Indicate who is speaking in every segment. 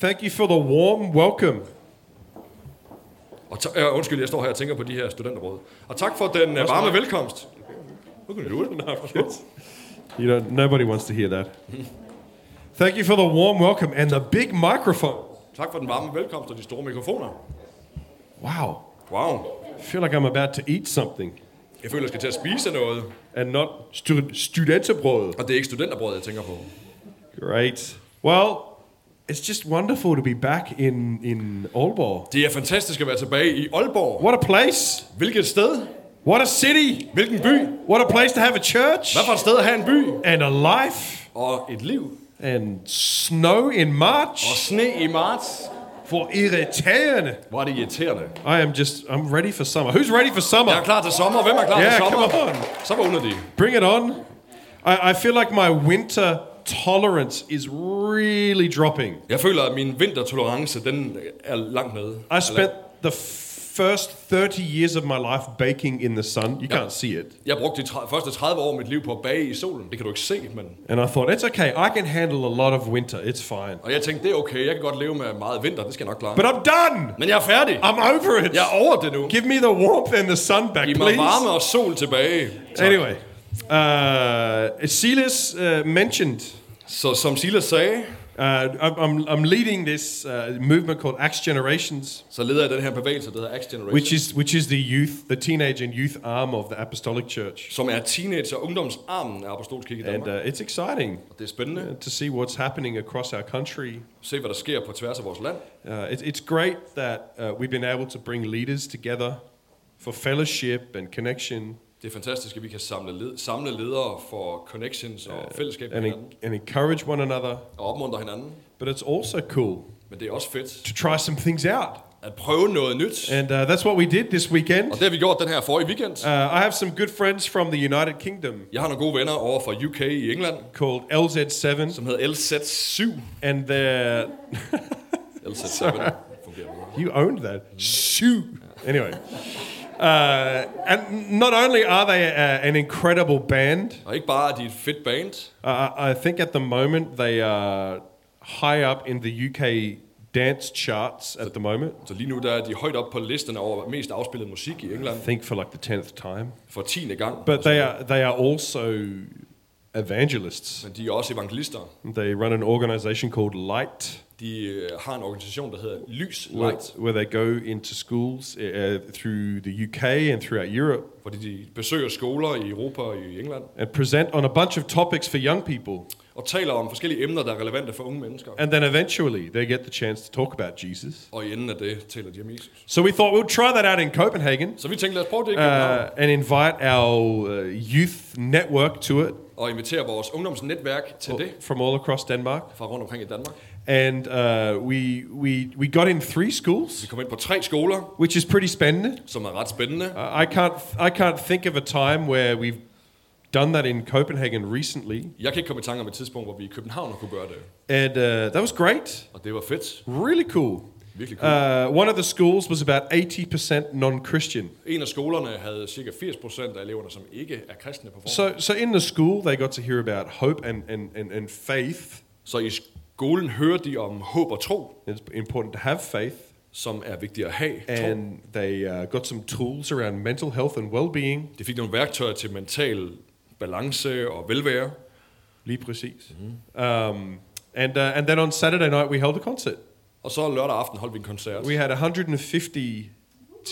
Speaker 1: Thank you for the warm welcome.
Speaker 2: Og ta- øh, undskyld, jeg står her og tænker på de her studenterbrød. Og tak for den øh, varme velkomst. Look at you.
Speaker 1: You know, nobody wants to hear that. Thank you for the warm welcome and the big microphone.
Speaker 2: Tak for den varme velkomst og de store mikrofoner.
Speaker 1: Wow.
Speaker 2: Wow.
Speaker 1: I feel like I'm about to eat something
Speaker 2: Jeg føler, jeg skal til at spise noget.
Speaker 1: and not stu- studenterbrød.
Speaker 2: Og det er ikke studenterbrød, jeg tænker på.
Speaker 1: Great. Well, it's just wonderful to be back in, in Aalborg.
Speaker 2: Det er fantastisk at være tilbage i Aalborg.
Speaker 1: What a place.
Speaker 2: Hvilket sted?
Speaker 1: What a city.
Speaker 2: Hvilken by?
Speaker 1: What a place to have a church
Speaker 2: Hvad for et sted at have en by?
Speaker 1: and a life
Speaker 2: Og et liv.
Speaker 1: and snow in
Speaker 2: Og
Speaker 1: March.
Speaker 2: sne i marts.
Speaker 1: For irriterende.
Speaker 2: Hvor er det irriterende.
Speaker 1: I am just, I'm ready for summer. Who's ready for
Speaker 2: Jeg er
Speaker 1: summer?
Speaker 2: klar til sommer. Hvem er klar
Speaker 1: Ja,
Speaker 2: til sommer?
Speaker 1: come on.
Speaker 2: Så vågner de.
Speaker 1: Bring it on. I, I feel like my winter tolerance is really dropping.
Speaker 2: Jeg føler, at min vintertolerance, den er langt nede.
Speaker 1: I spent the f- first 30 years of my life baking in the sun. You can't see it.
Speaker 2: Jeg brugte de tre- første 30 år af mit liv på at bage i solen. Det kan du ikke se, men...
Speaker 1: And I thought, it's okay. I can handle a lot of winter. It's fine.
Speaker 2: Og jeg tænkte, det er okay, jeg kan godt leve med meget vinter, det skal jeg nok klare.
Speaker 1: But I'm done.
Speaker 2: Men jeg er færdig.
Speaker 1: I'm over it.
Speaker 2: Jeg er over det nu.
Speaker 1: Give me the warmth and the sun back,
Speaker 2: Giv mig varme
Speaker 1: please.
Speaker 2: og sol tilbage. Tak.
Speaker 1: Anyway, uh, Silas uh, mentioned.
Speaker 2: Så som Silas sagde,
Speaker 1: Uh, I'm- I'm, I'm leading this uh, movement called Axe Generations.
Speaker 2: så leder jeg den her bevægelse, der hedder Axe Generation,
Speaker 1: which is which is the youth, the teenage and youth arm of the Apostolic Church,
Speaker 2: som er teenage- og ungdomsarmen af Apostolskirke i
Speaker 1: and
Speaker 2: Danmark.
Speaker 1: uh, it's exciting
Speaker 2: Og det er spændende
Speaker 1: uh, to see what's happening across our country.
Speaker 2: at se, hvad der sker på tværs af vores land.
Speaker 1: Uh, it, it's great that uh, we've been able to bring leaders together for fellowship and connection,
Speaker 2: Det er fantastisk, at vi kan samle, led- samle ledere for connections og fællesskab med
Speaker 1: Uh, and
Speaker 2: hinanden,
Speaker 1: en- and encourage one another.
Speaker 2: og opmuntre hinanden.
Speaker 1: But it's also cool
Speaker 2: Men det er også fedt
Speaker 1: to try some things out,
Speaker 2: at prøve noget nyt.
Speaker 1: and uh, that's what we did this weekend.
Speaker 2: Og det har vi gjort den her forrige weekend.
Speaker 1: Uh, I have some good friends from the United Kingdom
Speaker 2: Jeg har nogle gode venner over fra UK i England,
Speaker 1: called LZ7,
Speaker 2: som hedder LZ7.
Speaker 1: and they're
Speaker 2: LZ7 fungerer bedre.
Speaker 1: You owned that. Shoot. Anyway. Uh, and not only are they uh, an incredible band,
Speaker 2: Og ikke bare, at de er et fedt band.
Speaker 1: uh, I think at the moment they are high up in the UK dance charts at the moment.
Speaker 2: Så lige nu der er de højt op på listen over mest afspillet musik i England
Speaker 1: I think for like the 10th time.
Speaker 2: for tiende gang.
Speaker 1: But they are, they are also evangelists.
Speaker 2: Men de er også evangelister.
Speaker 1: They run an organization called Light,
Speaker 2: De øh, har en organisation, der hedder Lys
Speaker 1: where,
Speaker 2: Light,
Speaker 1: where they go into schools uh, through the UK and throughout Europe
Speaker 2: fordi de besøger skoler i Europa og i England
Speaker 1: and present on a bunch of topics for young people.
Speaker 2: og taler om forskellige emner, der er relevante for unge mennesker.
Speaker 1: And then eventually they get the chance to talk about Jesus.
Speaker 2: Og i enden af det taler de om Jesus.
Speaker 1: So we thought we'll try that out in Copenhagen
Speaker 2: Så vi tænkte, lad os prøve det i København
Speaker 1: uh, and invite our uh, youth network to it
Speaker 2: og invitere vores ungdomsnetværk til det
Speaker 1: from all across Denmark.
Speaker 2: fra rundt omkring i Danmark.
Speaker 1: And uh, we, we, we got in three
Speaker 2: Vi
Speaker 1: schools,
Speaker 2: kom ind på tre skoler,
Speaker 1: which is pretty spending.
Speaker 2: som er ret spændende.
Speaker 1: Uh, I, can't, I can't think of a time where we've done that in Copenhagen recently.
Speaker 2: Jeg kan ikke komme i tanke om et tidspunkt, hvor vi i København kunne gøre det.
Speaker 1: And uh, that was great,
Speaker 2: Og det var fedt.
Speaker 1: really cool.
Speaker 2: Virkelig cool.
Speaker 1: Uh, one of the schools was about 80% non Christian.
Speaker 2: En af skolerne havde cirka 80% af eleverne, som ikke er kristne på forhånd. Så,
Speaker 1: So, so in the school, they got to hear about hope and, and, and, and faith.
Speaker 2: så i skolen hører de om håb og tro,
Speaker 1: It's important to have faith.
Speaker 2: som er vigtigt at have. Tro.
Speaker 1: And they uh, got some tools around mental health and well being.
Speaker 2: De fik nogle værktøjer til mental balance og velvære.
Speaker 1: Um, and, uh, and then on Saturday night, we held a concert.
Speaker 2: Og så lørdag aften holdt vi en koncert.
Speaker 1: We had 150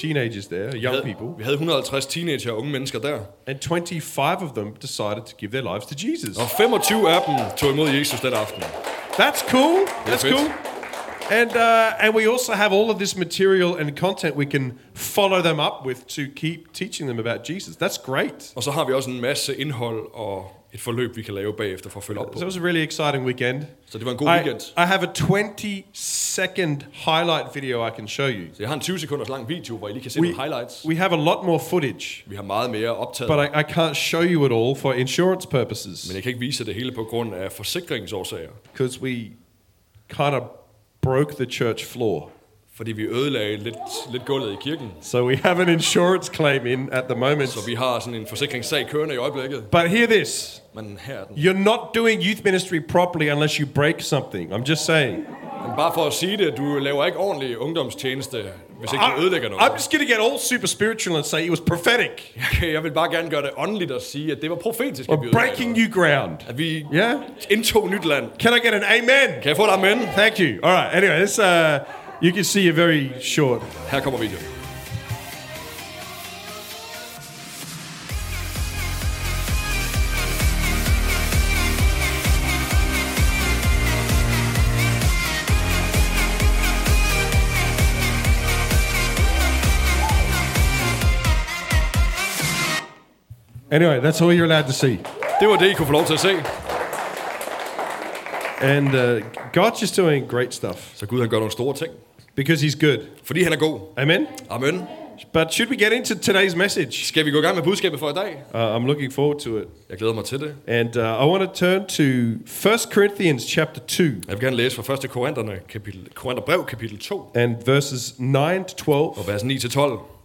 Speaker 1: teenagers there,
Speaker 2: vi,
Speaker 1: young
Speaker 2: havde,
Speaker 1: people,
Speaker 2: vi havde 150 teenager og unge mennesker der.
Speaker 1: and 25 of them decided to give their lives to Jesus.
Speaker 2: Og 25 af dem tog imod Jesus den aften.
Speaker 1: That's cool. That's
Speaker 2: fits.
Speaker 1: cool. And, uh, and we also have all of this material and content we can follow them up with to keep teaching them about Jesus. That's great.
Speaker 2: Og så har vi også en masse indhold og et forløb, vi kan lave bagefter for at følge op på.
Speaker 1: So it was a really exciting weekend.
Speaker 2: Så det var en god
Speaker 1: I,
Speaker 2: weekend.
Speaker 1: I have a 20 second highlight video I can show you.
Speaker 2: Så jeg har en 20 sekunders lang video, hvor I lige kan se
Speaker 1: We,
Speaker 2: nogle highlights.
Speaker 1: we have a lot more footage,
Speaker 2: Vi har meget mere optaget,
Speaker 1: but I, I can't show you it all for insurance
Speaker 2: men
Speaker 1: purposes
Speaker 2: jeg kan ikke vise det hele på grund af forsikringsårsager,
Speaker 1: because we kind of broke the church floor.
Speaker 2: fordi vi ødelagde lidt, lidt gulvet i kirken.
Speaker 1: So we have an insurance claim in at the moment.
Speaker 2: Så vi har sådan en forsikringssag kørende i øjeblikket,
Speaker 1: But hear this.
Speaker 2: men her er den.
Speaker 1: You're not doing youth ministry properly unless you break something. I'm just saying.
Speaker 2: Men Bare for at sige det, du laver ikke ordentlig ungdomstjeneste, hvis ikke
Speaker 1: Ah,
Speaker 2: du ødelægger noget.
Speaker 1: I'm just going to get all super spiritual and say it was prophetic.
Speaker 2: Okay, jeg vil bare gerne gøre det åndeligt og sige, at det var profetisk, at vi
Speaker 1: We're breaking
Speaker 2: ødelagde
Speaker 1: new ground.
Speaker 2: noget. At vi
Speaker 1: Ja.
Speaker 2: indtog nyt land.
Speaker 1: Can I get an amen?
Speaker 2: Kan jeg få et amen?
Speaker 1: Thank you. All right. Anyway, this, uh, you can see you're very short.
Speaker 2: Her kommer videoen.
Speaker 1: Anyway, that's all you're allowed to see.
Speaker 2: Det var det, I kunne få lov til at se.
Speaker 1: And uh, God's just doing great stuff
Speaker 2: Så Gud han gør nogle store ting.
Speaker 1: because He's good.
Speaker 2: Fordi han er god.
Speaker 1: Amen.
Speaker 2: Amen.
Speaker 1: But should we get into today's message?
Speaker 2: Skal vi gå i gang med budskabet for i dag?
Speaker 1: Uh, I'm looking forward to it.
Speaker 2: Jeg glæder mig til det.
Speaker 1: And uh, I want to turn to 1 Corinthians chapter 2
Speaker 2: Jeg vil gerne læse fra 1. Korinterne, kapitel, Korintherbrev, kapitel 2,
Speaker 1: and verses 9 to 12.
Speaker 2: og vers 9-12.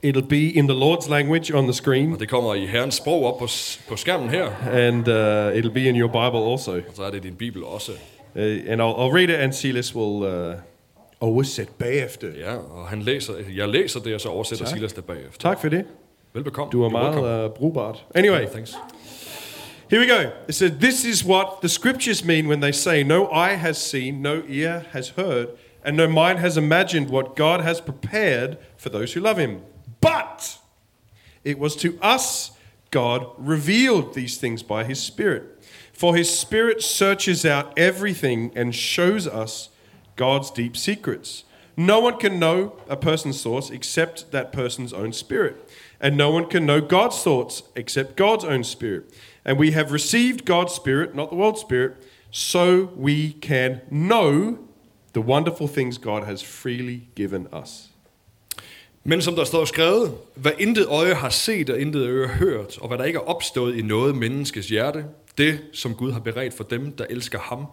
Speaker 1: It'll be in the Lord's language on the
Speaker 2: Og
Speaker 1: screen,
Speaker 2: det kommer i Herrens sprog op på, s- på skærmen her.
Speaker 1: and uh, it'll be in your Bible also.
Speaker 2: Og så er det i din bibel også.
Speaker 1: Uh, and I'll, I'll read it, and Silas will uh,
Speaker 2: Oh,
Speaker 1: oversætte bagefter.
Speaker 2: Ja, og han læser, jeg læser det, og så oversætter tak. Silas det bagefter.
Speaker 1: Tak for det.
Speaker 2: Velbekomme.
Speaker 1: Du er
Speaker 2: You're welcome.
Speaker 1: meget uh, brugbart. Anyway,
Speaker 2: Thanks.
Speaker 1: Here we go. It says, This is what the scriptures mean when they say, No eye has seen, no ear has heard, and no mind has imagined what God has prepared for those who love him. But it was to us God revealed these things by his Spirit. For his Spirit searches out everything and shows us God's deep secrets. No one can know a person's thoughts except that person's own spirit. And no one can know God's thoughts except God's own spirit. And we have received God's spirit, not the world's spirit, so we can know the wonderful things God has freely given us.
Speaker 2: Men som der står skrevet, hvad intet øje har set og intet øre hørt, og hvad der ikke er opstået i noget menneskes hjerte, det som Gud har beredt for dem, der elsker ham,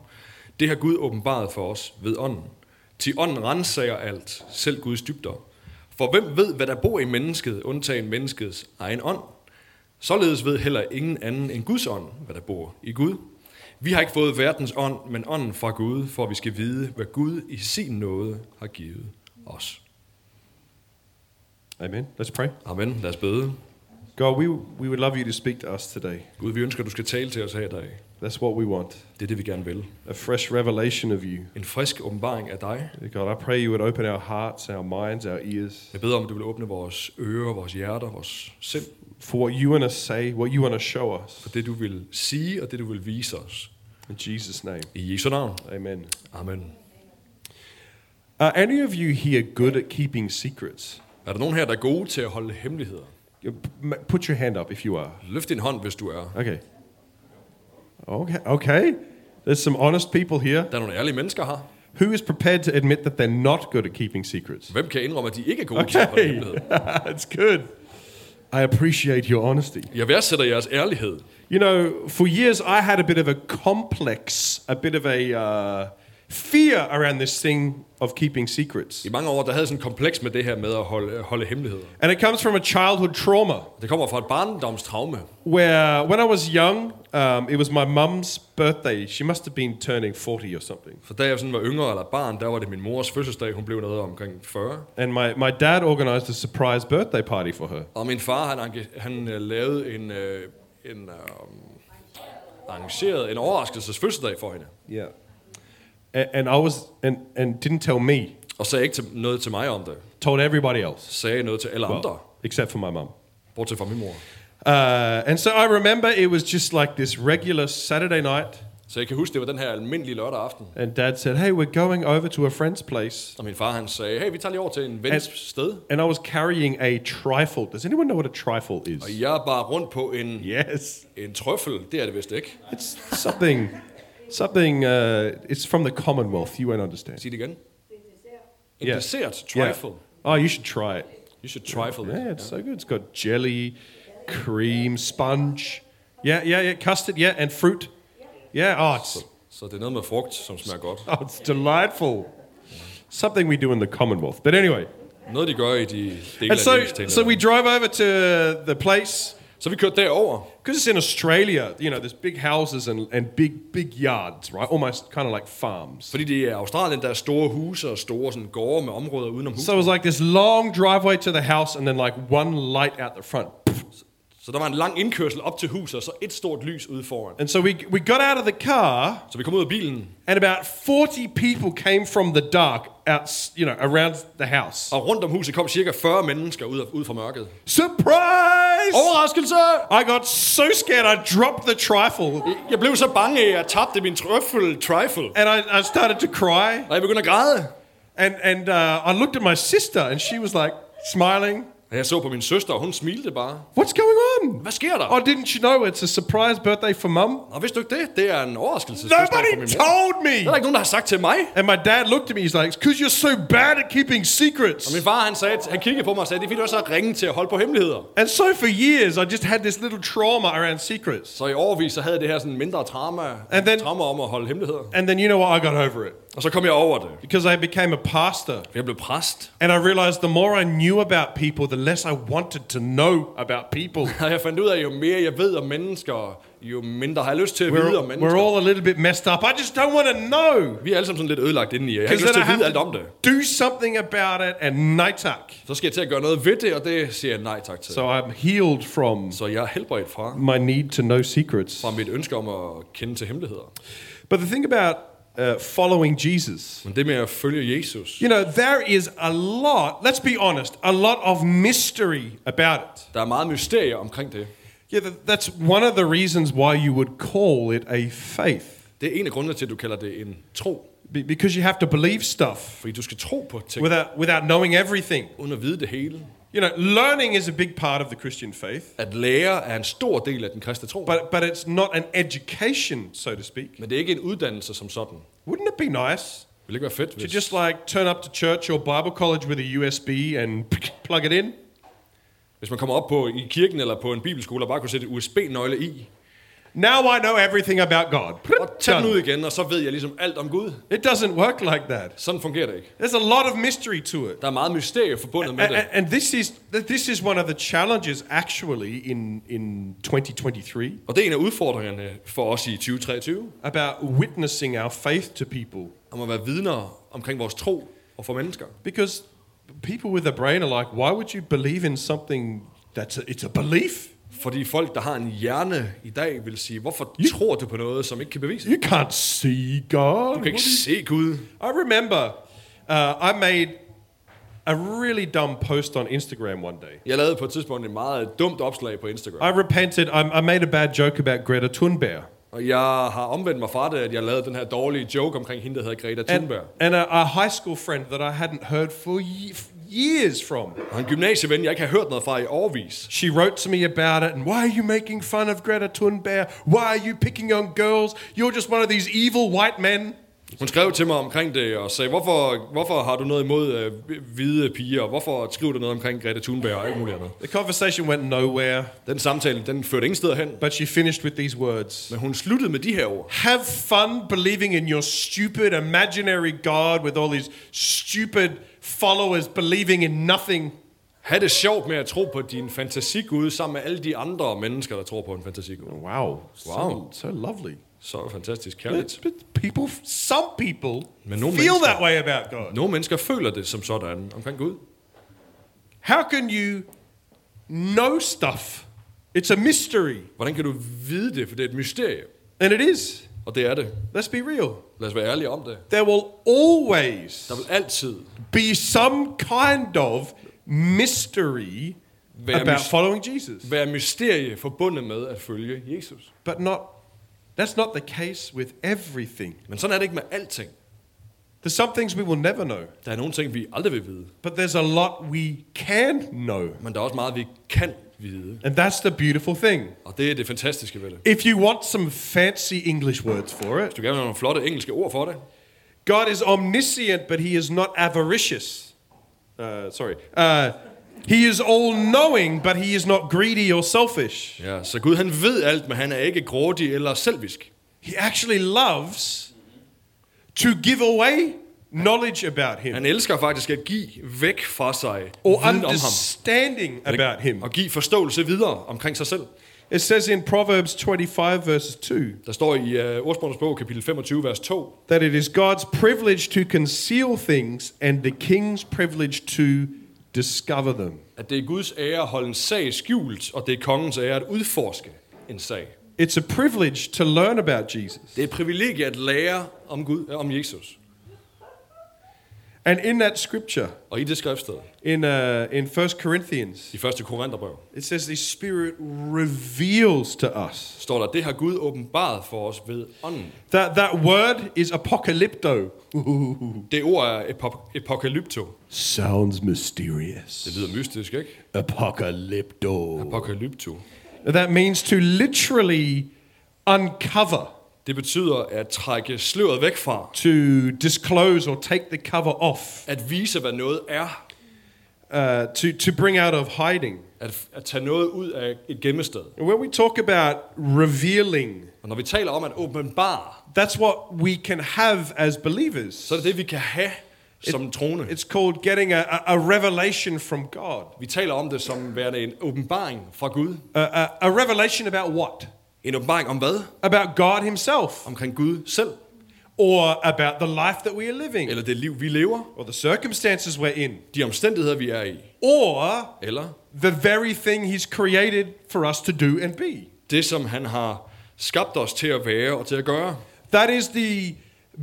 Speaker 2: det har Gud åbenbaret for os ved ånden. Til ånden renser alt, selv Guds dybder. For hvem ved, hvad der bor i mennesket, undtagen menneskets egen ånd? Således ved heller ingen anden end Guds ånd, hvad der bor i Gud. Vi har ikke fået verdens ånd, men ånden fra Gud, for at vi skal vide, hvad Gud i sin nåde har givet os.
Speaker 1: Amen. Let's pray.
Speaker 2: Amen. Lad os bede.
Speaker 1: God, we, we would love you to speak to us today.
Speaker 2: Gud, vi ønsker, at du skal tale til os her i dag.
Speaker 1: That's what we want.
Speaker 2: Det er det, vi gerne vil.
Speaker 1: A fresh revelation of you.
Speaker 2: En frisk åbenbaring af dig.
Speaker 1: God, I pray you would open our hearts, our minds, our ears
Speaker 2: Jeg beder om, at du vil åbne vores ører, vores hjerter, vores sind
Speaker 1: for what you want to say, what you want to show us.
Speaker 2: for det, du vil sige og det, du vil vise os.
Speaker 1: In Jesus' name,
Speaker 2: I Jesu navn.
Speaker 1: amen.
Speaker 2: Amen.
Speaker 1: Are any of you here good at keeping secrets?
Speaker 2: Er der nogen her, der er gode til at holde hemmeligheder?
Speaker 1: You- m- Put your hand up if you are.
Speaker 2: Løft din hånd, hvis du er.
Speaker 1: Okay. Okay. Okay. There's some honest people here.
Speaker 2: Der er nogle ærlige mennesker her.
Speaker 1: Who is prepared to admit that they're not good at keeping secrets?
Speaker 2: Hvem kan indrømme, at de ikke er gode okay. til at holde
Speaker 1: Okay.
Speaker 2: hemmeligheder?
Speaker 1: That's good. I appreciate your honesty.
Speaker 2: Jeg værdsætter jeres ærlighed.
Speaker 1: You know, for years I had a bit of a complex, a bit of a uh, fear around this thing of keeping secrets.
Speaker 2: I mange år, der havde jeg sådan en kompleks med det her med at holde, holde hemmeligheder.
Speaker 1: And it comes from a childhood trauma
Speaker 2: Det kommer fra et barndomstraume.
Speaker 1: where when I was young, um, it was my mum's birthday. She must have been turning 40 or something.
Speaker 2: For da jeg sådan var yngre eller barn, der var det min mors fødselsdag. Hun blev noget omkring 40.
Speaker 1: And my, my dad organized a surprise birthday party for her.
Speaker 2: Og min far, han, ange- han øh, lavede en, øh, en øh, arrangeret en overraskelses fødselsdag for hende.
Speaker 1: Yeah. And, and I was, and, and didn't tell me,
Speaker 2: Og sagde ikke til, noget til mig om det.
Speaker 1: told everybody else,
Speaker 2: Sagde noget til alle andre,
Speaker 1: except for my mum.
Speaker 2: bortset fra min mor.
Speaker 1: Uh, and so I remember it was just like this regular Saturday night.
Speaker 2: Så jeg kan huske, det var den her almindelige lørdag aften.
Speaker 1: And dad said, Hey, we're going over to a friend's place.
Speaker 2: Og min far, han sagde, hey, vi tager lige over til en vens
Speaker 1: At-
Speaker 2: sted.
Speaker 1: And I was carrying a trifle. Does anyone know what a trifle is?
Speaker 2: Og jeg bar rundt på en,
Speaker 1: Yes.
Speaker 2: en trøffel. Det er det vist ikke.
Speaker 1: It's something, something, uh, it's from the Commonwealth. You won't understand.
Speaker 2: Sig det igen. En
Speaker 1: Ja.
Speaker 2: dessert trifle.
Speaker 1: Oh, you should try it.
Speaker 2: You should trifle
Speaker 1: Yeah,
Speaker 2: it.
Speaker 1: it's so good. It's got jelly, cream, sponge. Yeah, yeah, yeah. Custard, yeah, and fruit. Yeah, oh, it's,
Speaker 2: Så det er noget med frugt, som smager godt.
Speaker 1: oh, it's delightful. Something we do in the Commonwealth. But anyway.
Speaker 2: Noget, de gør i de dele
Speaker 1: And
Speaker 2: af
Speaker 1: so,
Speaker 2: livets
Speaker 1: so
Speaker 2: so
Speaker 1: we drive over to the place,
Speaker 2: Så vi kørte derover.
Speaker 1: Because it's in Australia, you know, there's big houses and, and big, big yards, right? Almost kind of like farms.
Speaker 2: Fordi det er Australien, der er store huse og store sådan, gårde med områder udenom huset.
Speaker 1: So it was like this long driveway to the house and then like one light out the front.
Speaker 2: Så der var en lang indkørsel op til huset, og så et stort lys ude foran.
Speaker 1: And so we, we got out of the car
Speaker 2: Så vi kom ud af bilen,
Speaker 1: and about 40 people came from the dark out, you know, around the house.
Speaker 2: og rundt om huset kom cirka 40 mennesker ud, af, ud fra mørket.
Speaker 1: Surprise!
Speaker 2: Oh. Overraskelse!
Speaker 1: I got so scared I dropped the trifle
Speaker 2: Jeg blev så bange, at jeg tabte min trøffel trifle.
Speaker 1: and I, I started to cry.
Speaker 2: Og jeg begyndte at græde.
Speaker 1: And, and uh, I looked at my sister and she was like smiling.
Speaker 2: Og jeg så på min søster, og hun smilte bare.
Speaker 1: What's going on?
Speaker 2: Hvad sker der?
Speaker 1: Oh, didn't you know it's a surprise birthday for mum?
Speaker 2: Og vidste du ikke det? Det er en overraskelse.
Speaker 1: Nobody
Speaker 2: min mor.
Speaker 1: told me!
Speaker 2: Der er der ikke nogen, der har sagt til mig.
Speaker 1: And my dad looked at me, he's like, because you're so bad at keeping
Speaker 2: Og
Speaker 1: secrets.
Speaker 2: min far, han, sagde, han kiggede på mig og sagde, det er fordi, du også har ringe til at holde på hemmeligheder.
Speaker 1: And so for years, I just had this little trauma around secrets.
Speaker 2: Så i overvis, så havde jeg det her sådan mindre trauma,
Speaker 1: And then-
Speaker 2: trauma om at holde hemmeligheder.
Speaker 1: And then you know what? I got over it
Speaker 2: Og så kom jeg over det.
Speaker 1: because I became a pastor.
Speaker 2: Jeg blev præst.
Speaker 1: And I realized the more I knew about people, the less I wanted to know about people.
Speaker 2: Og jeg fandt ud af, at jo mere jeg ved om mennesker, jo mindre har jeg lyst til at vide om
Speaker 1: We're,
Speaker 2: mennesker.
Speaker 1: we're all a little bit messed up. I just don't want to know.
Speaker 2: Vi er alle sammen sådan lidt ødelagt indeni, og jeg har
Speaker 1: 'Cause
Speaker 2: ikke lyst til
Speaker 1: then I
Speaker 2: at vide alt
Speaker 1: have
Speaker 2: om
Speaker 1: to
Speaker 2: det.
Speaker 1: do something about it and nightuck.
Speaker 2: Så skal jeg til at gøre noget ved det, og det siger jeg nej tak til. Så,
Speaker 1: So I'm healed from
Speaker 2: så jeg er helbredt fra,
Speaker 1: my need to know secrets.
Speaker 2: fra mit ønske om at kende til hemmeligheder.
Speaker 1: But the thing about uh, following Jesus,
Speaker 2: Men det med at følge Jesus,
Speaker 1: you know, there is a lot, let's be honest, a lot of mystery about it.
Speaker 2: der er meget mysterier omkring det.
Speaker 1: Yeah, th- that's one of the reasons why you would call it a faith,
Speaker 2: Det er en af grundene til, at du kalder det en tro.
Speaker 1: Be- because you have to believe stuff
Speaker 2: Fordi du skal tro på ting,
Speaker 1: without, without knowing everything.
Speaker 2: uden at vide det hele.
Speaker 1: You know, learning is a big part of the Christian faith,
Speaker 2: At lære er en stor del af den kristne tro.
Speaker 1: but, but it's not an education, so to speak.
Speaker 2: Men det er ikke en uddannelse som sådan.
Speaker 1: Wouldn't it be nice
Speaker 2: Det ville ikke være fedt,
Speaker 1: to
Speaker 2: hvis...
Speaker 1: just like turn up to church or Bible college with a USB and plug it in?
Speaker 2: Hvis man kommer op på i kirken eller på en bibelskole og bare kunne sætte et USB-nøgle i,
Speaker 1: Now I know everything about God.
Speaker 2: og tage
Speaker 1: Done.
Speaker 2: den ud igen, og så ved jeg ligesom alt om Gud.
Speaker 1: It doesn't work like that.
Speaker 2: Sådan fungerer det ikke.
Speaker 1: There's a lot of mystery to it.
Speaker 2: Der er meget mysterie forbundet
Speaker 1: And,
Speaker 2: med det.
Speaker 1: and- and this is this is one of the challenges actually in in 2023
Speaker 2: Og det er en af udfordringerne for os i 2023,
Speaker 1: about witnessing our faith to people
Speaker 2: om at være vidner omkring vores tro og for mennesker.
Speaker 1: because people with a brain are like why would you believe in something that's a, it's a belief
Speaker 2: Fordi folk, der har en hjerne i dag, vil sige, hvorfor tror du på noget, som ikke kan bevise?
Speaker 1: you can't see God
Speaker 2: Du kan ikke se Gud.
Speaker 1: I remember uh, I made a really dumb post on Instagram one day
Speaker 2: Jeg lavede på et tidspunkt et meget dumt opslag på Instagram,
Speaker 1: I repented I, I made a bad joke about Greta Thunberg
Speaker 2: og jeg har omvendt mig fra det, at jeg lavede den her dårlige joke omkring hende, der hedder Greta
Speaker 1: and,
Speaker 2: Thunberg.
Speaker 1: and a, a high school friend that I hadn't heard for ye- f- years from.
Speaker 2: Og en gymnasieven, jeg ikke har hørt noget fra i årvis.
Speaker 1: She wrote to me about it and why are you making fun of Greta Thunberg? Why are you picking on girls? You're just one of these evil white men.
Speaker 2: Hun skrev til mig omkring det og sagde, hvorfor, hvorfor har du noget imod øh, hvide piger, og hvorfor skriver du noget omkring Greta Thunberg og alt muligt andet.
Speaker 1: The conversation went nowhere,
Speaker 2: Den samtale, den førte ingen steder hen,
Speaker 1: but she finished with these words.
Speaker 2: men hun sluttede med de her ord.
Speaker 1: Have fun believing in your stupid imaginary God with all these stupid followers believing in nothing.
Speaker 2: Ha' det sjovt med at tro på din fantasigud sammen med alle de andre mennesker, der tror på en fantasigud.
Speaker 1: Wow.
Speaker 2: Wow.
Speaker 1: So, so lovely.
Speaker 2: Så fantastisk
Speaker 1: But,
Speaker 2: kærligt.
Speaker 1: but people, some people
Speaker 2: Men nogle
Speaker 1: feel
Speaker 2: mennesker-
Speaker 1: that way about God.
Speaker 2: Nogle mennesker føler det som sådan omkring Gud.
Speaker 1: How can you know stuff? It's a mystery.
Speaker 2: Hvordan kan du vide det, for det er et mysterie.
Speaker 1: And it is.
Speaker 2: Og det er det.
Speaker 1: Let's be real.
Speaker 2: Lad os være ærlige om det.
Speaker 1: There will always
Speaker 2: Der vil altid
Speaker 1: be some kind of mystery
Speaker 2: Være
Speaker 1: about
Speaker 2: mys-
Speaker 1: following Jesus.
Speaker 2: være mysterie forbundet med at følge Jesus.
Speaker 1: But not that's not the case with everything.
Speaker 2: Men sådan er det ikke med alting.
Speaker 1: There's some things we will never know,
Speaker 2: Der er nogle ting, vi aldrig vil vide,
Speaker 1: but there's a lot we can know.
Speaker 2: men der er også meget, vi kan vide.
Speaker 1: And that's the beautiful thing.
Speaker 2: Og det er det fantastiske ved det.
Speaker 1: If you want some fancy English words for it,
Speaker 2: Du gerne vil have nogle flotte engelske ord for det.
Speaker 1: God is omniscient, but he is not avaricious. Uh, sorry. Uh, he is all knowing, but he is not greedy or selfish.
Speaker 2: Ja, så Gud han ved alt, men han er ikke grådig eller selvisk.
Speaker 1: He actually loves to give away knowledge about Him
Speaker 2: Han elsker faktisk at give væk fra sig
Speaker 1: or
Speaker 2: viden om ham.
Speaker 1: understanding about Him.
Speaker 2: Og give forståelse videre omkring sig selv.
Speaker 1: It says in Proverbs 25, verses 2,
Speaker 2: Der står i øh, ordsprogenes bog, kapitel 25, vers 2.
Speaker 1: that it is God's privilege to conceal things and the king's privilege to discover them.
Speaker 2: At det er Guds ære at holde en sag skjult, og det er kongens ære at udforske en sag.
Speaker 1: It's a privilege to learn about Jesus.
Speaker 2: Det er et privilegie at lære om, Gud, øh, om Jesus.
Speaker 1: And in that scripture,
Speaker 2: Og i det skriftsted,
Speaker 1: in, uh, in 1 Corinthians,
Speaker 2: i første Korintherbrev,
Speaker 1: it says the Spirit reveals to us.
Speaker 2: står der, det har Gud åbenbart for os ved ånden.
Speaker 1: That, that word is apocalypto. Ooh,
Speaker 2: Det ord er epop- apokalypto.
Speaker 1: sounds
Speaker 2: Det
Speaker 1: mysterious.
Speaker 2: lyder mystisk, ikke?
Speaker 1: Apocalypto.
Speaker 2: Apokalypto.
Speaker 1: That means to literally uncover.
Speaker 2: Det betyder at trække sløret væk fra.
Speaker 1: to disclose or take the cover off,
Speaker 2: At vise, hvad noget er.
Speaker 1: uh, to, to bring out of hiding.
Speaker 2: At, at tage noget ud af et gemmested.
Speaker 1: And when we talk about revealing,
Speaker 2: Og når vi taler om at åbenbare,
Speaker 1: that's what we can have as believers.
Speaker 2: så er det det, vi kan have som troende.
Speaker 1: It's called getting a, a a revelation from God.
Speaker 2: Vi taler om det som værende en åbenbaring fra Gud.
Speaker 1: A, a, a revelation about what?
Speaker 2: En åbenbaring om hvad?
Speaker 1: About God Himself,
Speaker 2: Omkring Gud selv.
Speaker 1: or about the life that we are living,
Speaker 2: Eller det liv, vi lever.
Speaker 1: or the circumstances we're in,
Speaker 2: De omstændigheder, vi er i.
Speaker 1: or
Speaker 2: Eller
Speaker 1: the very thing He's created for us to do and be.
Speaker 2: det, som han har skabt os til at være og til at gøre.
Speaker 1: That is the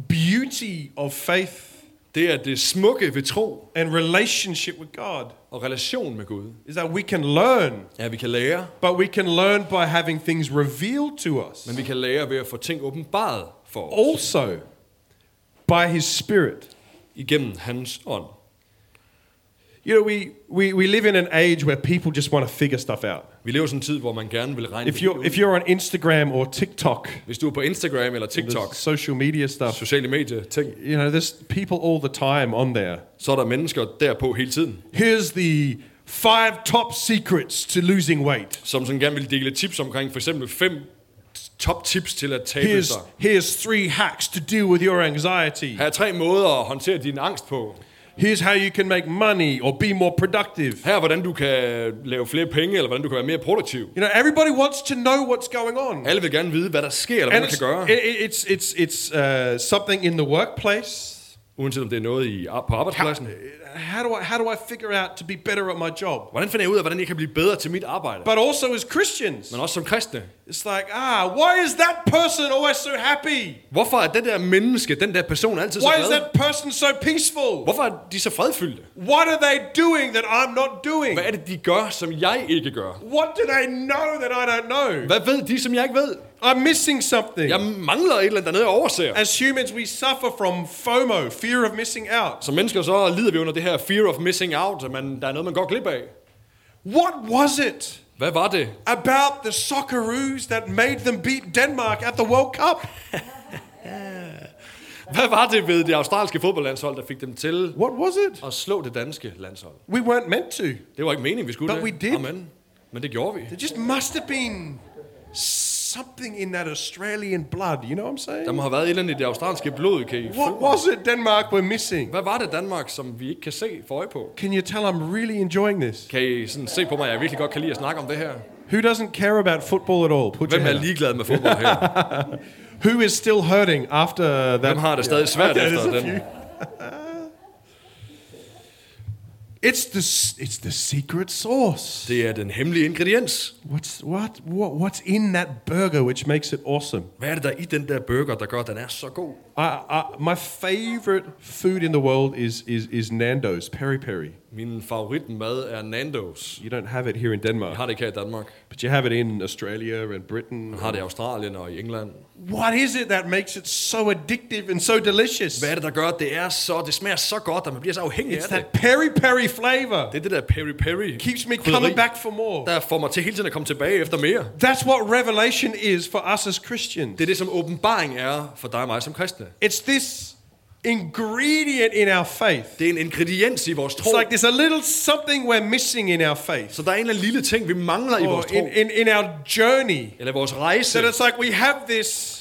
Speaker 1: beauty of faith
Speaker 2: Det er det smukke ved tro
Speaker 1: and relationship with God
Speaker 2: og relation med Gud.
Speaker 1: is that we can learn,
Speaker 2: Ja, vi kan lære,
Speaker 1: but we can learn by having things revealed to us.
Speaker 2: men vi kan lære ved at få ting åbenbaret for os.
Speaker 1: Also, by His Spirit.
Speaker 2: Igennem hans ånd.
Speaker 1: You know, we, we, we live in an age where people just want to figure stuff out.
Speaker 2: Vi lever i sådan en tid, hvor man gerne vil regne
Speaker 1: If
Speaker 2: det
Speaker 1: you're,
Speaker 2: ud.
Speaker 1: if you're on Instagram or TikTok,
Speaker 2: Hvis du er på Instagram eller TikTok,
Speaker 1: the social media stuff,
Speaker 2: sociale medier, ting,
Speaker 1: you know, there's people all the time on there.
Speaker 2: så er der mennesker derpå hele tiden,
Speaker 1: Here's the five top secrets to losing weight.
Speaker 2: som sådan gerne vil dele tips omkring for eksempel fem top tips til at tabe
Speaker 1: Here's,
Speaker 2: sig.
Speaker 1: here's three hacks to deal with your anxiety.
Speaker 2: Her er tre måder at håndtere din angst på.
Speaker 1: Here's how you can make money or be more productive.
Speaker 2: Her er, hvordan du kan lave flere penge, eller hvordan du kan være mere produktiv.
Speaker 1: You know, everybody wants to know what's going on.
Speaker 2: Alle vil gerne vide, hvad der sker, eller hvad
Speaker 1: And
Speaker 2: man
Speaker 1: it's,
Speaker 2: kan gøre.
Speaker 1: it- it- it's, it's, it's uh, something in the workplace.
Speaker 2: Uanset om det er noget i, på arbejdspladsen.
Speaker 1: How do, I, how do I figure out to be better at my job?
Speaker 2: Hvordan finder jeg ud af, hvordan jeg kan blive bedre til mit arbejde?
Speaker 1: But also, as Christians,
Speaker 2: Men også som kristne.
Speaker 1: it's like, ah, why is that person always so happy?
Speaker 2: Hvorfor er den der menneske, den der person altid så
Speaker 1: Why is
Speaker 2: glad?
Speaker 1: that person so peaceful?
Speaker 2: Hvorfor er de så fredfyldte?
Speaker 1: What are they doing that I'm not doing?
Speaker 2: Hvad er det, de gør, som jeg ikke gør?
Speaker 1: What do they know that I don't know?
Speaker 2: Hvad ved de, som jeg ikke ved?
Speaker 1: I'm missing something.
Speaker 2: Jeg mangler et eller andet dernede, jeg overser.
Speaker 1: As humans, we suffer from FOMO, fear of missing out.
Speaker 2: Som mennesker, så lider vi under det her fear of missing out, at man, der er noget, man går glip af.
Speaker 1: What was it?
Speaker 2: Hvad var det?
Speaker 1: about the Socceroos that made them beat Denmark at the World Cup.
Speaker 2: Hvad var det ved det australske fodboldlandshold, der fik dem til
Speaker 1: What was it?
Speaker 2: at slå det danske landshold?
Speaker 1: We weren't meant to.
Speaker 2: Det var ikke meningen, vi skulle
Speaker 1: But
Speaker 2: det.
Speaker 1: we did.
Speaker 2: Amen. Men det gjorde vi.
Speaker 1: There just must have been something in that Australian blood, you know what I'm
Speaker 2: Der
Speaker 1: saying?
Speaker 2: må have været et eller andet i det australske blod, kan I følge
Speaker 1: What
Speaker 2: mig?
Speaker 1: was it Denmark were missing?
Speaker 2: Hvad var det Danmark, som vi ikke kan se for øje på?
Speaker 1: Can you tell I'm really enjoying this?
Speaker 2: Kan I sådan se på mig, at jeg virkelig godt kan lide at snakke om det her?
Speaker 1: Who doesn't care about football at all? Put your
Speaker 2: Hvem er
Speaker 1: hand up.
Speaker 2: ligeglad med fodbold her?
Speaker 1: Who is still hurting after
Speaker 2: Hvem
Speaker 1: that?
Speaker 2: har det stadig svært
Speaker 1: Okay,
Speaker 2: efter
Speaker 1: there's a
Speaker 2: den?
Speaker 1: It's the s- it's the secret sauce.
Speaker 2: Det er den hemmelige ingrediens.
Speaker 1: What's what, what what's in that burger which makes it awesome?
Speaker 2: Hvad er det, der er i den der burger, der gør, at den er så god?
Speaker 1: I, I, my favorite food in the world is, is, is Nando's peri peri.
Speaker 2: Min favoritmad er Nandos.
Speaker 1: You don't have it here in
Speaker 2: Jeg
Speaker 1: Denmark,
Speaker 2: har det ikke her i Danmark.
Speaker 1: but you have it in Australia and Britain.
Speaker 2: Jeg har det i Australien og i England.
Speaker 1: What is it that makes it so addictive and so delicious?
Speaker 2: Hvad er det, der gør, at det er så, det smager så godt, at man bliver så afhængig
Speaker 1: It's
Speaker 2: af det?
Speaker 1: that peri peri flavor.
Speaker 2: Det er det der peri-peri.
Speaker 1: Keeps me
Speaker 2: krydderi,
Speaker 1: coming back for more.
Speaker 2: Der får mig til hele tiden at komme tilbage efter mere.
Speaker 1: That's what revelation is for us as Christians.
Speaker 2: Det er det, som åbenbaring er for dig og mig som kristne.
Speaker 1: It's this ingredient in our faith.
Speaker 2: Det er en ingrediens i vores tro.
Speaker 1: It's like there's a little something we're missing in our faith
Speaker 2: Så der er en eller anden lille ting, vi mangler i
Speaker 1: or
Speaker 2: vores tro.
Speaker 1: in, in, in our journey.
Speaker 2: Eller vores rejse.
Speaker 1: That it's like we have this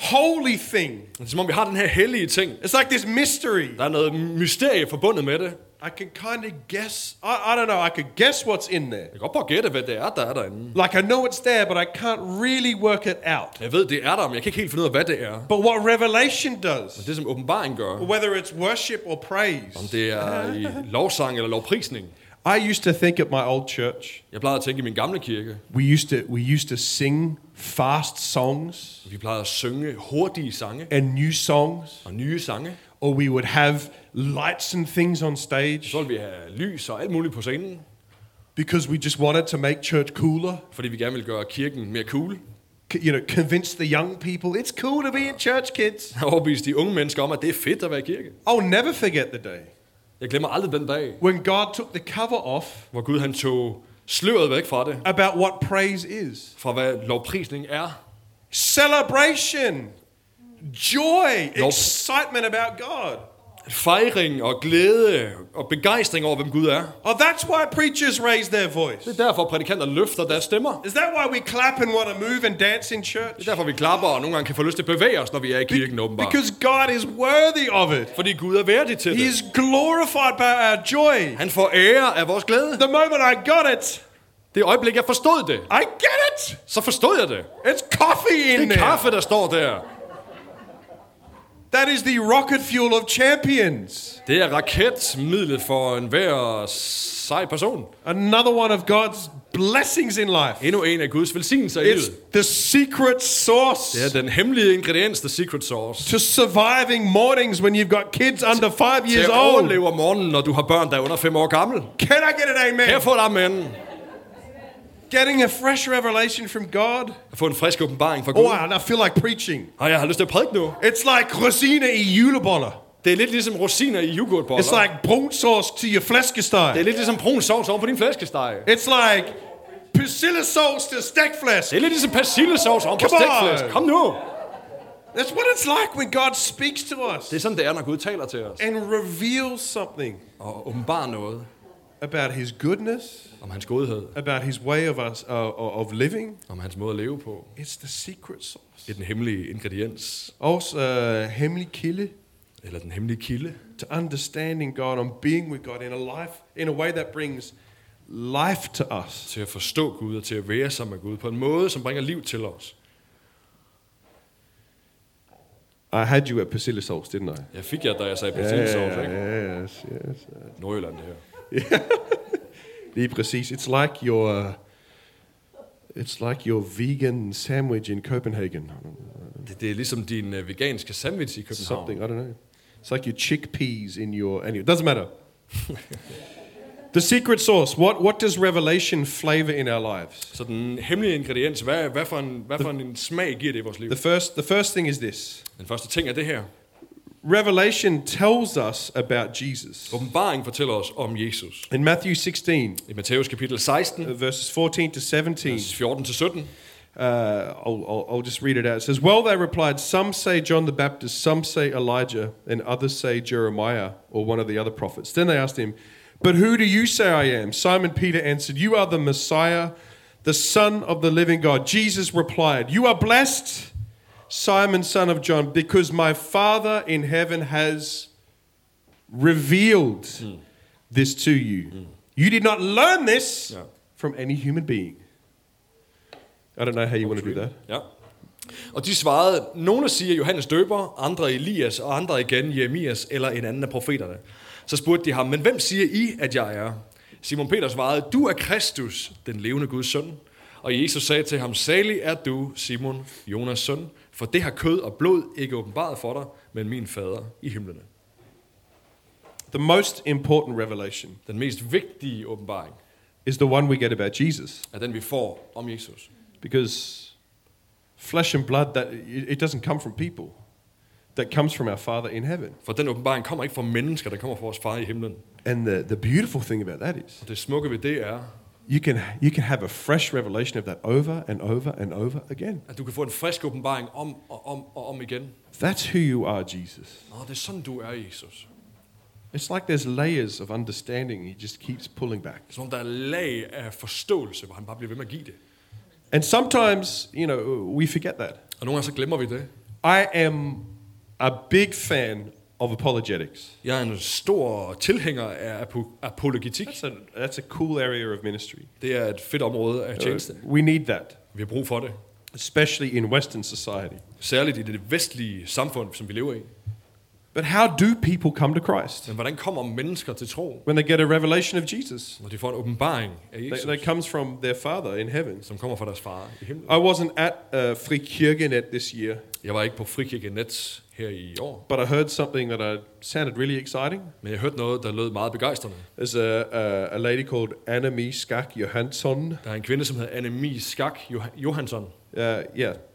Speaker 1: holy thing.
Speaker 2: Det er som om, vi har den her hellige ting.
Speaker 1: It's like this mystery.
Speaker 2: Der er noget mysterie forbundet med det.
Speaker 1: I can kind of guess. I, I don't know. I could guess what's in there.
Speaker 2: Jeg kan godt prøve at gætte, hvad det er, der er derinde.
Speaker 1: Like I know it's there, but I can't really work it out.
Speaker 2: Jeg ved, det er der, men jeg kan ikke helt finde ud af, hvad det er.
Speaker 1: But what revelation does,
Speaker 2: Det, som åbenbaring gør,
Speaker 1: whether it's worship or
Speaker 2: om
Speaker 1: praise,
Speaker 2: det er i lovsang eller lovprisning.
Speaker 1: I used to think at my old church,
Speaker 2: Jeg plejede at tænke i min gamle kirke.
Speaker 1: we used to we used to sing fast songs
Speaker 2: Vi plejede at synge hurtige sange
Speaker 1: and new songs,
Speaker 2: og nye sange.
Speaker 1: or we would have lights and things on stage
Speaker 2: Så ville vi have lys og alt muligt på scenen,
Speaker 1: because we just wanted to make church cooler.
Speaker 2: fordi vi gerne ville gøre kirken mere cool.
Speaker 1: C- you know, convince the young people it's cool to be in church, kids.
Speaker 2: Jeg overbeviste de unge mennesker om, at det er fedt at være i kirke.
Speaker 1: I'll never forget the day
Speaker 2: Jeg glemmer aldrig den dag,
Speaker 1: when God took the cover off
Speaker 2: hvor Gud han tog sløret væk fra det,
Speaker 1: about what praise is.
Speaker 2: fra hvad lovprisning er.
Speaker 1: Celebration, joy,
Speaker 2: Nope.
Speaker 1: excitement about God.
Speaker 2: Fejring og glæde og begejstring over, hvem Gud er.
Speaker 1: Oh, that's why preachers raise their voice.
Speaker 2: Det er derfor, prædikanter løfter deres stemmer.
Speaker 1: Is that why we clap and want to move and dance in
Speaker 2: Det
Speaker 1: church?
Speaker 2: er derfor, vi klapper og nogle gange kan få lyst til at bevæge os, når vi er i kirken åbenbart.
Speaker 1: Because God is worthy of it.
Speaker 2: Fordi Gud er værdig til
Speaker 1: He
Speaker 2: det.
Speaker 1: is glorified by our joy.
Speaker 2: Han får ære af vores glæde.
Speaker 1: The moment I got it,
Speaker 2: Det øjeblik, jeg forstod det,
Speaker 1: I get it.
Speaker 2: så forstod jeg det.
Speaker 1: It's coffee in
Speaker 2: Det er
Speaker 1: there.
Speaker 2: kaffe, der står der.
Speaker 1: That is the rocket fuel of champions.
Speaker 2: Det er raketmidlet for enhver sej person.
Speaker 1: Another one of God's blessings in life.
Speaker 2: Endnu en af Guds velsignelser i
Speaker 1: It's
Speaker 2: livet.
Speaker 1: the secret sauce
Speaker 2: Det er den hemmelige ingrediens, the secret sauce.
Speaker 1: to surviving mornings when you've got kids under five
Speaker 2: Til
Speaker 1: years
Speaker 2: at
Speaker 1: old.
Speaker 2: overleve om morgenen, når du har børn, der er under 5 år gammel.
Speaker 1: Can I get an amen?
Speaker 2: Her får et amen.
Speaker 1: Getting a fresh revelation from God.
Speaker 2: At få en frisk åbenbaring fra
Speaker 1: Oh,
Speaker 2: Gud.
Speaker 1: I I feel like preaching.
Speaker 2: Og jeg har lyst til at prædike nu.
Speaker 1: It's like rosiner i juleboller.
Speaker 2: Det er lidt ligesom rosiner i yoghurtboller.
Speaker 1: It's like brun sauce to your
Speaker 2: Det er
Speaker 1: flæskesteg.
Speaker 2: lidt ligesom brun sovs oven på din flæskesteg.
Speaker 1: It's like persilla sauce to stegflæsk.
Speaker 2: Det er lidt ligesom persillesovs oven på
Speaker 1: Come on!
Speaker 2: stegflæsk. Kom nu!
Speaker 1: That's what it's like when God speaks to us
Speaker 2: Det er sådan, det er, når Gud taler til os.
Speaker 1: and reveals something
Speaker 2: Og åbenbarer noget
Speaker 1: about His goodness,
Speaker 2: om hans godhed,
Speaker 1: about His way of us uh, of living.
Speaker 2: om hans måde at leve på.
Speaker 1: It's the secret sauce.
Speaker 2: Det er den hemmelige ingrediens,
Speaker 1: Også uh, hemmelig kilde
Speaker 2: eller den hemmelige kilde.
Speaker 1: to understanding God and being with God in a life in a way that brings life to us.
Speaker 2: til at forstå Gud og til at være sammen med Gud på en måde, som bringer liv til os.
Speaker 1: I had you at persilla sauce, didn't I?
Speaker 2: Jeg fik jer, da jeg sagde persillesovs, ikke?
Speaker 1: yes, yes. yes.
Speaker 2: Nordjylland, det her.
Speaker 1: Lige præcis. It's like your uh, it's like your vegan sandwich in Copenhagen.
Speaker 2: Det, det er ligesom din uh, veganske sandwich i København.
Speaker 1: Something I don't know. It's like your chickpeas in your anyway. It doesn't matter. the secret sauce. What what does revelation flavor in our lives?
Speaker 2: Så den hemmelige ingrediens, hvad, hvad, for en, hvad for en smag giver det i vores liv?
Speaker 1: The first the first thing is this.
Speaker 2: Den første ting er det her.
Speaker 1: Revelation tells us about Jesus.
Speaker 2: Åbenbaring fortæller os om Jesus.
Speaker 1: In Matthew 16,
Speaker 2: I Matthæus kapitel 16,
Speaker 1: uh, verses 14 to 17,
Speaker 2: vers 14-17,
Speaker 1: uh, I'll, I'll, I'll just read it out. It says, Well, they replied, Some say John the Baptist, some say Elijah, and others say Jeremiah or one of the other prophets. Then they asked him, But who do you say I am? Simon Peter answered, You are the Messiah, the Son of the living God. Jesus replied, You are blessed, Simon, son of John, because my Father in heaven has revealed this to you. You did not learn this
Speaker 2: Yeah.
Speaker 1: from any human being. I don't know how you want to do that.
Speaker 2: Ja. Og de svarede, nogle siger Johannes døber, andre Elias, og andre igen Jeremias eller en anden af profeterne. Så spurgte de ham, men hvem siger I, at jeg er? Simon Peter svarede, du er Kristus, den levende Guds søn. Og Jesus sagde til ham, salig er du, Simon, Jonas søn, for det har kød og blod ikke åbenbaret for dig, men min fader i himlene.
Speaker 1: The most important revelation
Speaker 2: Den mest vigtige åbenbaring
Speaker 1: is the one we get about Jesus
Speaker 2: er den, vi får om Jesus.
Speaker 1: because flesh and blood that it it doesn't come from people. That comes from our Father in heaven.
Speaker 2: For den åbenbaring kommer ikke fra mennesker, der kommer fra vores far i himlen.
Speaker 1: And the, the beautiful thing about that is
Speaker 2: Og det smukke ved det er,
Speaker 1: you can you can have a fresh revelation of that over and over and over again.
Speaker 2: at du kan få en frisk åbenbaring om og om og om igen.
Speaker 1: That's who you are, Jesus.
Speaker 2: Nå, det er sådan, du er, Jesus.
Speaker 1: It's like there's layers of understanding he just keeps pulling back.
Speaker 2: Som om der er lag af forståelse, hvor han bare bliver ved med at give det.
Speaker 1: And sometimes, you know, we forget that.
Speaker 2: Og nogle gange så glemmer vi det.
Speaker 1: I am a big fan of apologetics.
Speaker 2: Jeg er en stor tilhænger af apo- apologetik.
Speaker 1: That's a, that's a cool area of ministry.
Speaker 2: Det er et fedt område af tjeneste.
Speaker 1: Uh, We need that,
Speaker 2: Vi har brug for det.
Speaker 1: especially in Western society.
Speaker 2: Særligt i det vestlige samfund, som vi lever i.
Speaker 1: But how do people come to Christ?
Speaker 2: Men hvordan kommer mennesker til tro,
Speaker 1: When they get a revelation of Jesus
Speaker 2: når de får en åbenbaring af
Speaker 1: that,
Speaker 2: Jesus,
Speaker 1: that comes from their Father in heaven.
Speaker 2: som kommer fra deres far i himlen?
Speaker 1: I wasn't at uh, Frikirkenet this year,
Speaker 2: Jeg var ikke på Frikirke Nets her i år,
Speaker 1: but I heard something that uh, sounded really exciting.
Speaker 2: men jeg hørte noget, der lød meget begejstrende.
Speaker 1: There's a, a, a lady called Anna Skak Johansson.
Speaker 2: Der er en kvinde, som hedder Annemie Skak Joh- Johansson,
Speaker 1: uh, yeah,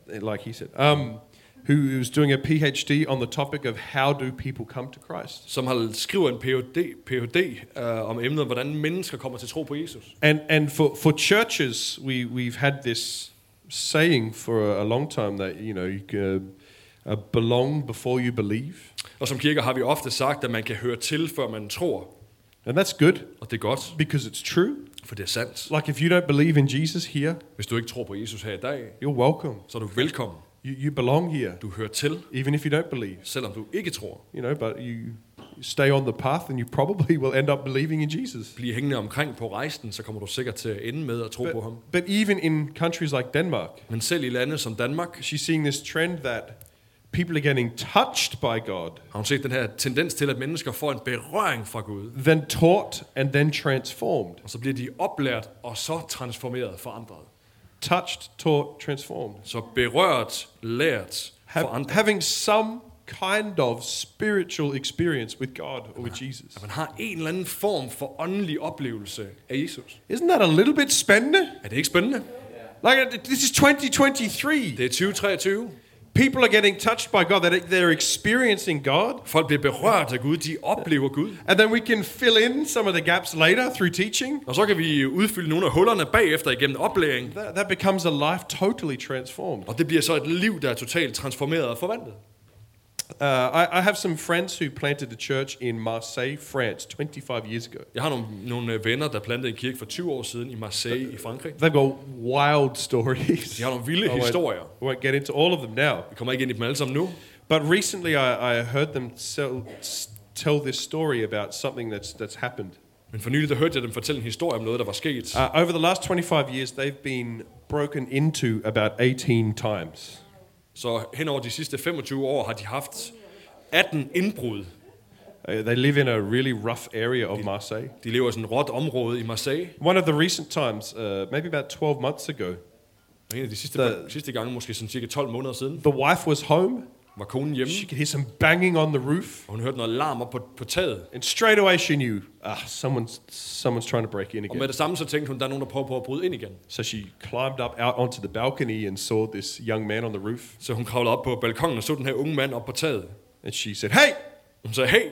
Speaker 1: like he said, um, who was doing a PhD on the topic of how do people come to Christ.
Speaker 2: som har skriver en PhD, PhD øh, om emnet, hvordan mennesker kommer til tro på Jesus.
Speaker 1: And and for for churches, we we've had this saying for a, a long time that you know you can, uh, belong before you believe,
Speaker 2: Og som kirker har vi ofte sagt, at man kan høre til, før man tror.
Speaker 1: and that's good
Speaker 2: Og det er godt,
Speaker 1: because it's true.
Speaker 2: for det er sandt.
Speaker 1: Like if you don't believe in Jesus here,
Speaker 2: Hvis du ikke tror på Jesus her i dag,
Speaker 1: you're welcome.
Speaker 2: så er du velkommen.
Speaker 1: You you belong here,
Speaker 2: Du hører til,
Speaker 1: even if you don't believe.
Speaker 2: selvom du ikke tror.
Speaker 1: You know, but you stay on the path, and you probably will end up believing in Jesus.
Speaker 2: Bliv hængende omkring på rejsen, så kommer du sikkert til at ende med at tro på ham.
Speaker 1: But, but even in countries like Denmark,
Speaker 2: Men selv i lande som Danmark
Speaker 1: she's seeing this trend that people are getting touched by God,
Speaker 2: har hun set den her tendens til, at mennesker får en berøring fra Gud.
Speaker 1: then taught, and then transformed.
Speaker 2: Og så bliver de oplært og så transformeret, forandret.
Speaker 1: Touched, taught, transformed.
Speaker 2: Så berørt, lært,
Speaker 1: Hav-
Speaker 2: forandret.
Speaker 1: having some kind of spiritual experience with God or with Jesus.
Speaker 2: At man har en eller anden form for åndelig oplevelse af Jesus.
Speaker 1: Isn't that a little bit spending?
Speaker 2: Er det ikke spændende?
Speaker 1: Like, uh, this is 2023.
Speaker 2: Det er 2023.
Speaker 1: People are getting touched by God, that they're experiencing God.
Speaker 2: Folk bliver berørt af Gud, de oplever Gud.
Speaker 1: And then we can fill in some of the gaps later through teaching.
Speaker 2: Og så kan vi udfylde nogle af hullerne bagefter igennem oplæring.
Speaker 1: That, that becomes a life totally transformed.
Speaker 2: Og det bliver så et liv, der er totalt transformeret og forvandlet.
Speaker 1: Uh, I, I have some friends who planted a church in Marseille, France, 25 years ago.
Speaker 2: Jeg har nogle, nogle øh, venner, der plantede en kirke for 20 år siden i Marseille i Frankrig.
Speaker 1: They've got wild stories.
Speaker 2: De har nogle vilde
Speaker 1: I won't-
Speaker 2: historier.
Speaker 1: I won't get into all of them now.
Speaker 2: Vi kommer ikke ind i dem alle sammen nu,
Speaker 1: But recently, I, I heard them sell, s- tell this story about something that's that's happened.
Speaker 2: men for nylig der hørte jeg dem fortælle en historie om noget, der var sket.
Speaker 1: Uh, over the last 25 years, they've been broken into about 18 times.
Speaker 2: Så hen over de sidste 25 år har de haft 18 indbrud.
Speaker 1: Uh, they live in a really rough area of Marseille.
Speaker 2: De lever i sådan et råt område i Marseille.
Speaker 1: One of the recent times, uh, maybe about 12 months ago,
Speaker 2: Og en af de sidste,
Speaker 1: Der-
Speaker 2: sidste gange, måske sådan cirka 12 måneder siden,
Speaker 1: the wife was home.
Speaker 2: var konen hjemme,
Speaker 1: She could hear some banging on the roof.
Speaker 2: og hun hørte noget larm op på, på taget.
Speaker 1: And straight away she knew, ah, someone's someone's trying to break in
Speaker 2: Og med
Speaker 1: again.
Speaker 2: det samme, så tænkte hun, der er nogen, der prøver på at bryde ind igen.
Speaker 1: So she climbed up out onto the balcony and saw this young man on the roof,
Speaker 2: Så hun kravlede op på balkongen og så den her unge mand op på taget.
Speaker 1: and she said, "Hey,
Speaker 2: Hun sagde, hey,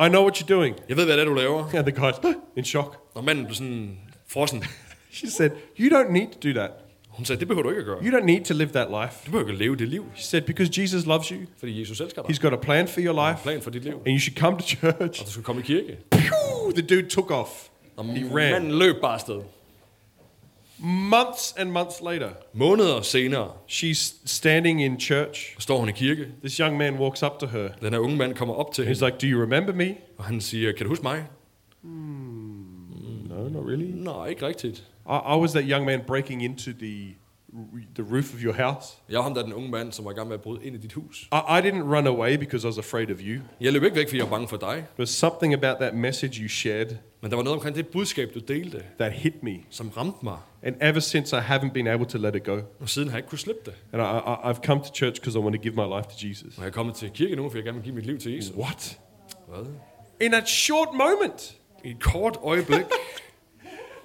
Speaker 1: I know what you're doing."
Speaker 2: jeg ved, hvad det er, du laver.
Speaker 1: And the guy's in shock.
Speaker 2: Og manden blev sådan frossen.
Speaker 1: She said, "You don't need to do that.
Speaker 2: Hun sagde, det behøver du ikke at gøre.
Speaker 1: You don't need to live that life."
Speaker 2: Du behøver ikke at leve det liv,
Speaker 1: She said, "Because Jesus loves you.
Speaker 2: fordi Jesus elsker dig.
Speaker 1: He's got a plan for your
Speaker 2: en
Speaker 1: life,
Speaker 2: plan for dit liv.
Speaker 1: and you should come to
Speaker 2: Og
Speaker 1: church."
Speaker 2: du skal komme i kirke.
Speaker 1: Pew! The dude took off.
Speaker 2: Og
Speaker 1: He ran.
Speaker 2: manden løb bare afsted.
Speaker 1: Months and months later,
Speaker 2: Måneder senere
Speaker 1: she's standing in church.
Speaker 2: står hun i kirke.
Speaker 1: This young man walks up to her.
Speaker 2: Den her unge mand kommer op til hende,
Speaker 1: He's like, "Do you remember me?"
Speaker 2: og han siger, kan du huske mig?
Speaker 1: No, not really.
Speaker 2: Nej, ikke rigtigt.
Speaker 1: I, I was that young man breaking into the the roof of your house.
Speaker 2: Jeg var ham, der er den unge mand, som var i gang med at bryde ind i dit hus.
Speaker 1: I, I didn't run away because I was afraid of you.
Speaker 2: Jeg løb ikke væk, fordi jeg var bange for dig.
Speaker 1: There was something about that message you shared
Speaker 2: Men der var noget omkring det budskab, du delte,
Speaker 1: that hit me,
Speaker 2: som ramte mig.
Speaker 1: and ever since I haven't been able to let it go.
Speaker 2: Og siden har jeg ikke kunne slippe det.
Speaker 1: And I, I, I've come to church because I want to give my life to Jesus.
Speaker 2: Og jeg er kommet til kirke nu, for jeg gerne vil give mit liv til Jesus.
Speaker 1: What?
Speaker 2: Hvad?
Speaker 1: In a short moment.
Speaker 2: I et kort øjeblik.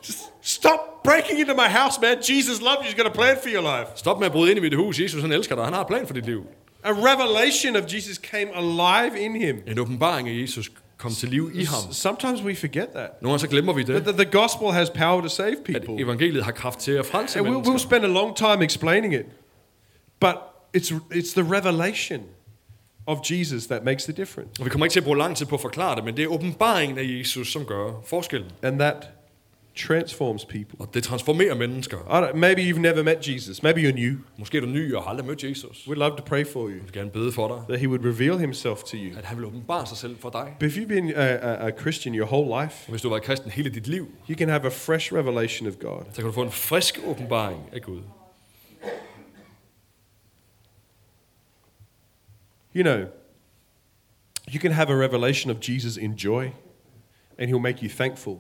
Speaker 1: Just stop breaking into my house, man. Jesus loves you. He's got a plan for your life.
Speaker 2: Stop med at bryde ind i mit hus. Jesus, han elsker dig. Han har en plan for dit liv.
Speaker 1: A revelation of Jesus came alive in him.
Speaker 2: En åbenbaring af Jesus kom til liv i ham.
Speaker 1: S- Sometimes we forget that.
Speaker 2: Nogle gange så glemmer vi
Speaker 1: That
Speaker 2: det,
Speaker 1: the, the gospel has power to save
Speaker 2: at
Speaker 1: people.
Speaker 2: evangeliet har kraft til at frelse
Speaker 1: And we'll, we'll
Speaker 2: mennesker.
Speaker 1: spend a long time explaining it, but it's, it's the revelation of Jesus that makes the difference.
Speaker 2: Og vi kommer ikke til at bruge lang tid på at forklare det, men det er åbenbaringen af Jesus, som gør forskellen.
Speaker 1: And that transforms people.
Speaker 2: Og det transformerer mennesker.
Speaker 1: I don't, maybe you've never met Jesus. Maybe you're new.
Speaker 2: Måske er du ny og har aldrig mødt Jesus.
Speaker 1: We'd love to pray for you
Speaker 2: Jeg vil gerne bede for dig,
Speaker 1: that He would reveal Himself to you.
Speaker 2: at han vil åbenbare sig selv for dig.
Speaker 1: But if you've been a, a, a Christian your whole life,
Speaker 2: Hvis du har været kristen hele dit liv,
Speaker 1: you can have a fresh revelation of God.
Speaker 2: så kan du få en frisk åbenbaring af Gud.
Speaker 1: You know, you can have a revelation of Jesus in joy, and He'll make you thankful.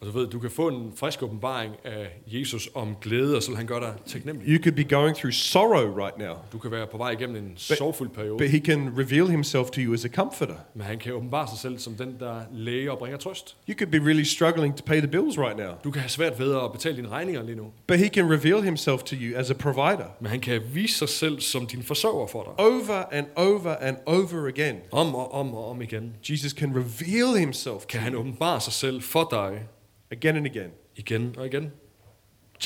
Speaker 2: Og du ved, du kan få en frisk åbenbaring af Jesus om glæde, og så vil han gøre dig taknemmelig.
Speaker 1: You could be going through sorrow right now,
Speaker 2: Du kan være på vej igennem en sorgfuld
Speaker 1: but
Speaker 2: periode,
Speaker 1: He can reveal Himself to you as a comforter.
Speaker 2: men han kan åbenbare sig selv som den, der læger og bringer trøst.
Speaker 1: You could be really struggling to pay the bills right now,
Speaker 2: Du kan have svært ved at betale dine regninger lige nu,
Speaker 1: but He can reveal Himself to you as a provider.
Speaker 2: men han kan vise sig selv som din forsørger for dig.
Speaker 1: Over and over and over again,
Speaker 2: Om og om og om igen
Speaker 1: Jesus can reveal Himself
Speaker 2: kan
Speaker 1: to
Speaker 2: han
Speaker 1: you
Speaker 2: åbenbare sig selv for dig
Speaker 1: again and again.
Speaker 2: igen og igen.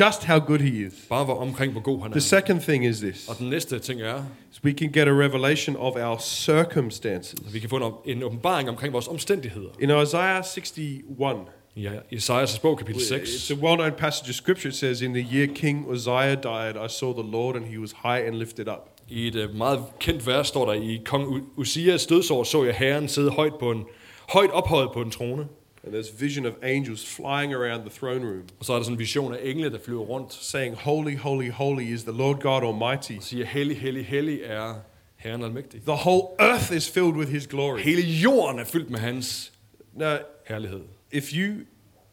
Speaker 1: Just how good He is.
Speaker 2: Bare hvor omkring, hvor god han
Speaker 1: The
Speaker 2: er.
Speaker 1: second thing is this.
Speaker 2: Og den næste ting er,
Speaker 1: So we can get a revelation of our
Speaker 2: at
Speaker 1: circumstances.
Speaker 2: vi kan få en op- en åbenbaring omkring vores omstændigheder.
Speaker 1: In Isaiah 61,
Speaker 2: Ja, Isaias bog kapitel
Speaker 1: it's
Speaker 2: 6.
Speaker 1: a well known passage of scripture. It says, In the year King Uzziah died, I saw the Lord and he was high and lifted up.
Speaker 2: I et øh, meget kendt vers står der, i kong U- Uzias dødsår så jeg herren sidde højt, på en, højt ophøjet på en trone.
Speaker 1: And there's vision of angels flying around the throne room,
Speaker 2: Og så er der sådan en vision af engle, der flyver rundt
Speaker 1: saying, Holy, holy, holy is the Lord God Almighty.
Speaker 2: og siger, hellig, hellig, hellig er herren almægtig.
Speaker 1: The whole earth is filled with his glory.
Speaker 2: Hele jorden er fyldt med hans
Speaker 1: Now,
Speaker 2: herlighed.
Speaker 1: if you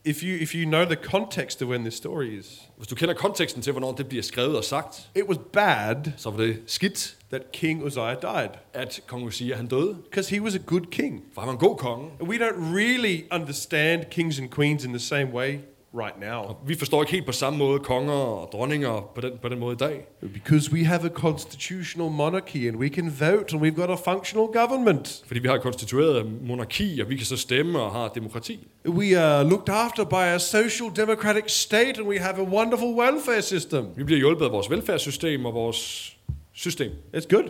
Speaker 1: if you if you know the context of when this story is,
Speaker 2: Hvis du kender konteksten til, hvornår det bliver skrevet og sagt,
Speaker 1: it was bad
Speaker 2: så var det skidt,
Speaker 1: that King Uzziah died.
Speaker 2: at kong Uzia han døde.
Speaker 1: Because he was a good king.
Speaker 2: For han var en god konge.
Speaker 1: We don't really understand kings and queens in the same way right now
Speaker 2: Vi forstår ikke helt på samme måde konger og dronninger på den, på den måde i dag.
Speaker 1: because we have a constitutional monarchy and we can vote and we've got a functional government.
Speaker 2: Fordi vi har et konstitueret monarki, og vi kan så stemme og har demokrati.
Speaker 1: We are looked after by a social democratic state and we have a wonderful welfare system.
Speaker 2: Vi bliver hjulpet af vores velfærdssystem og vores system.
Speaker 1: It's good.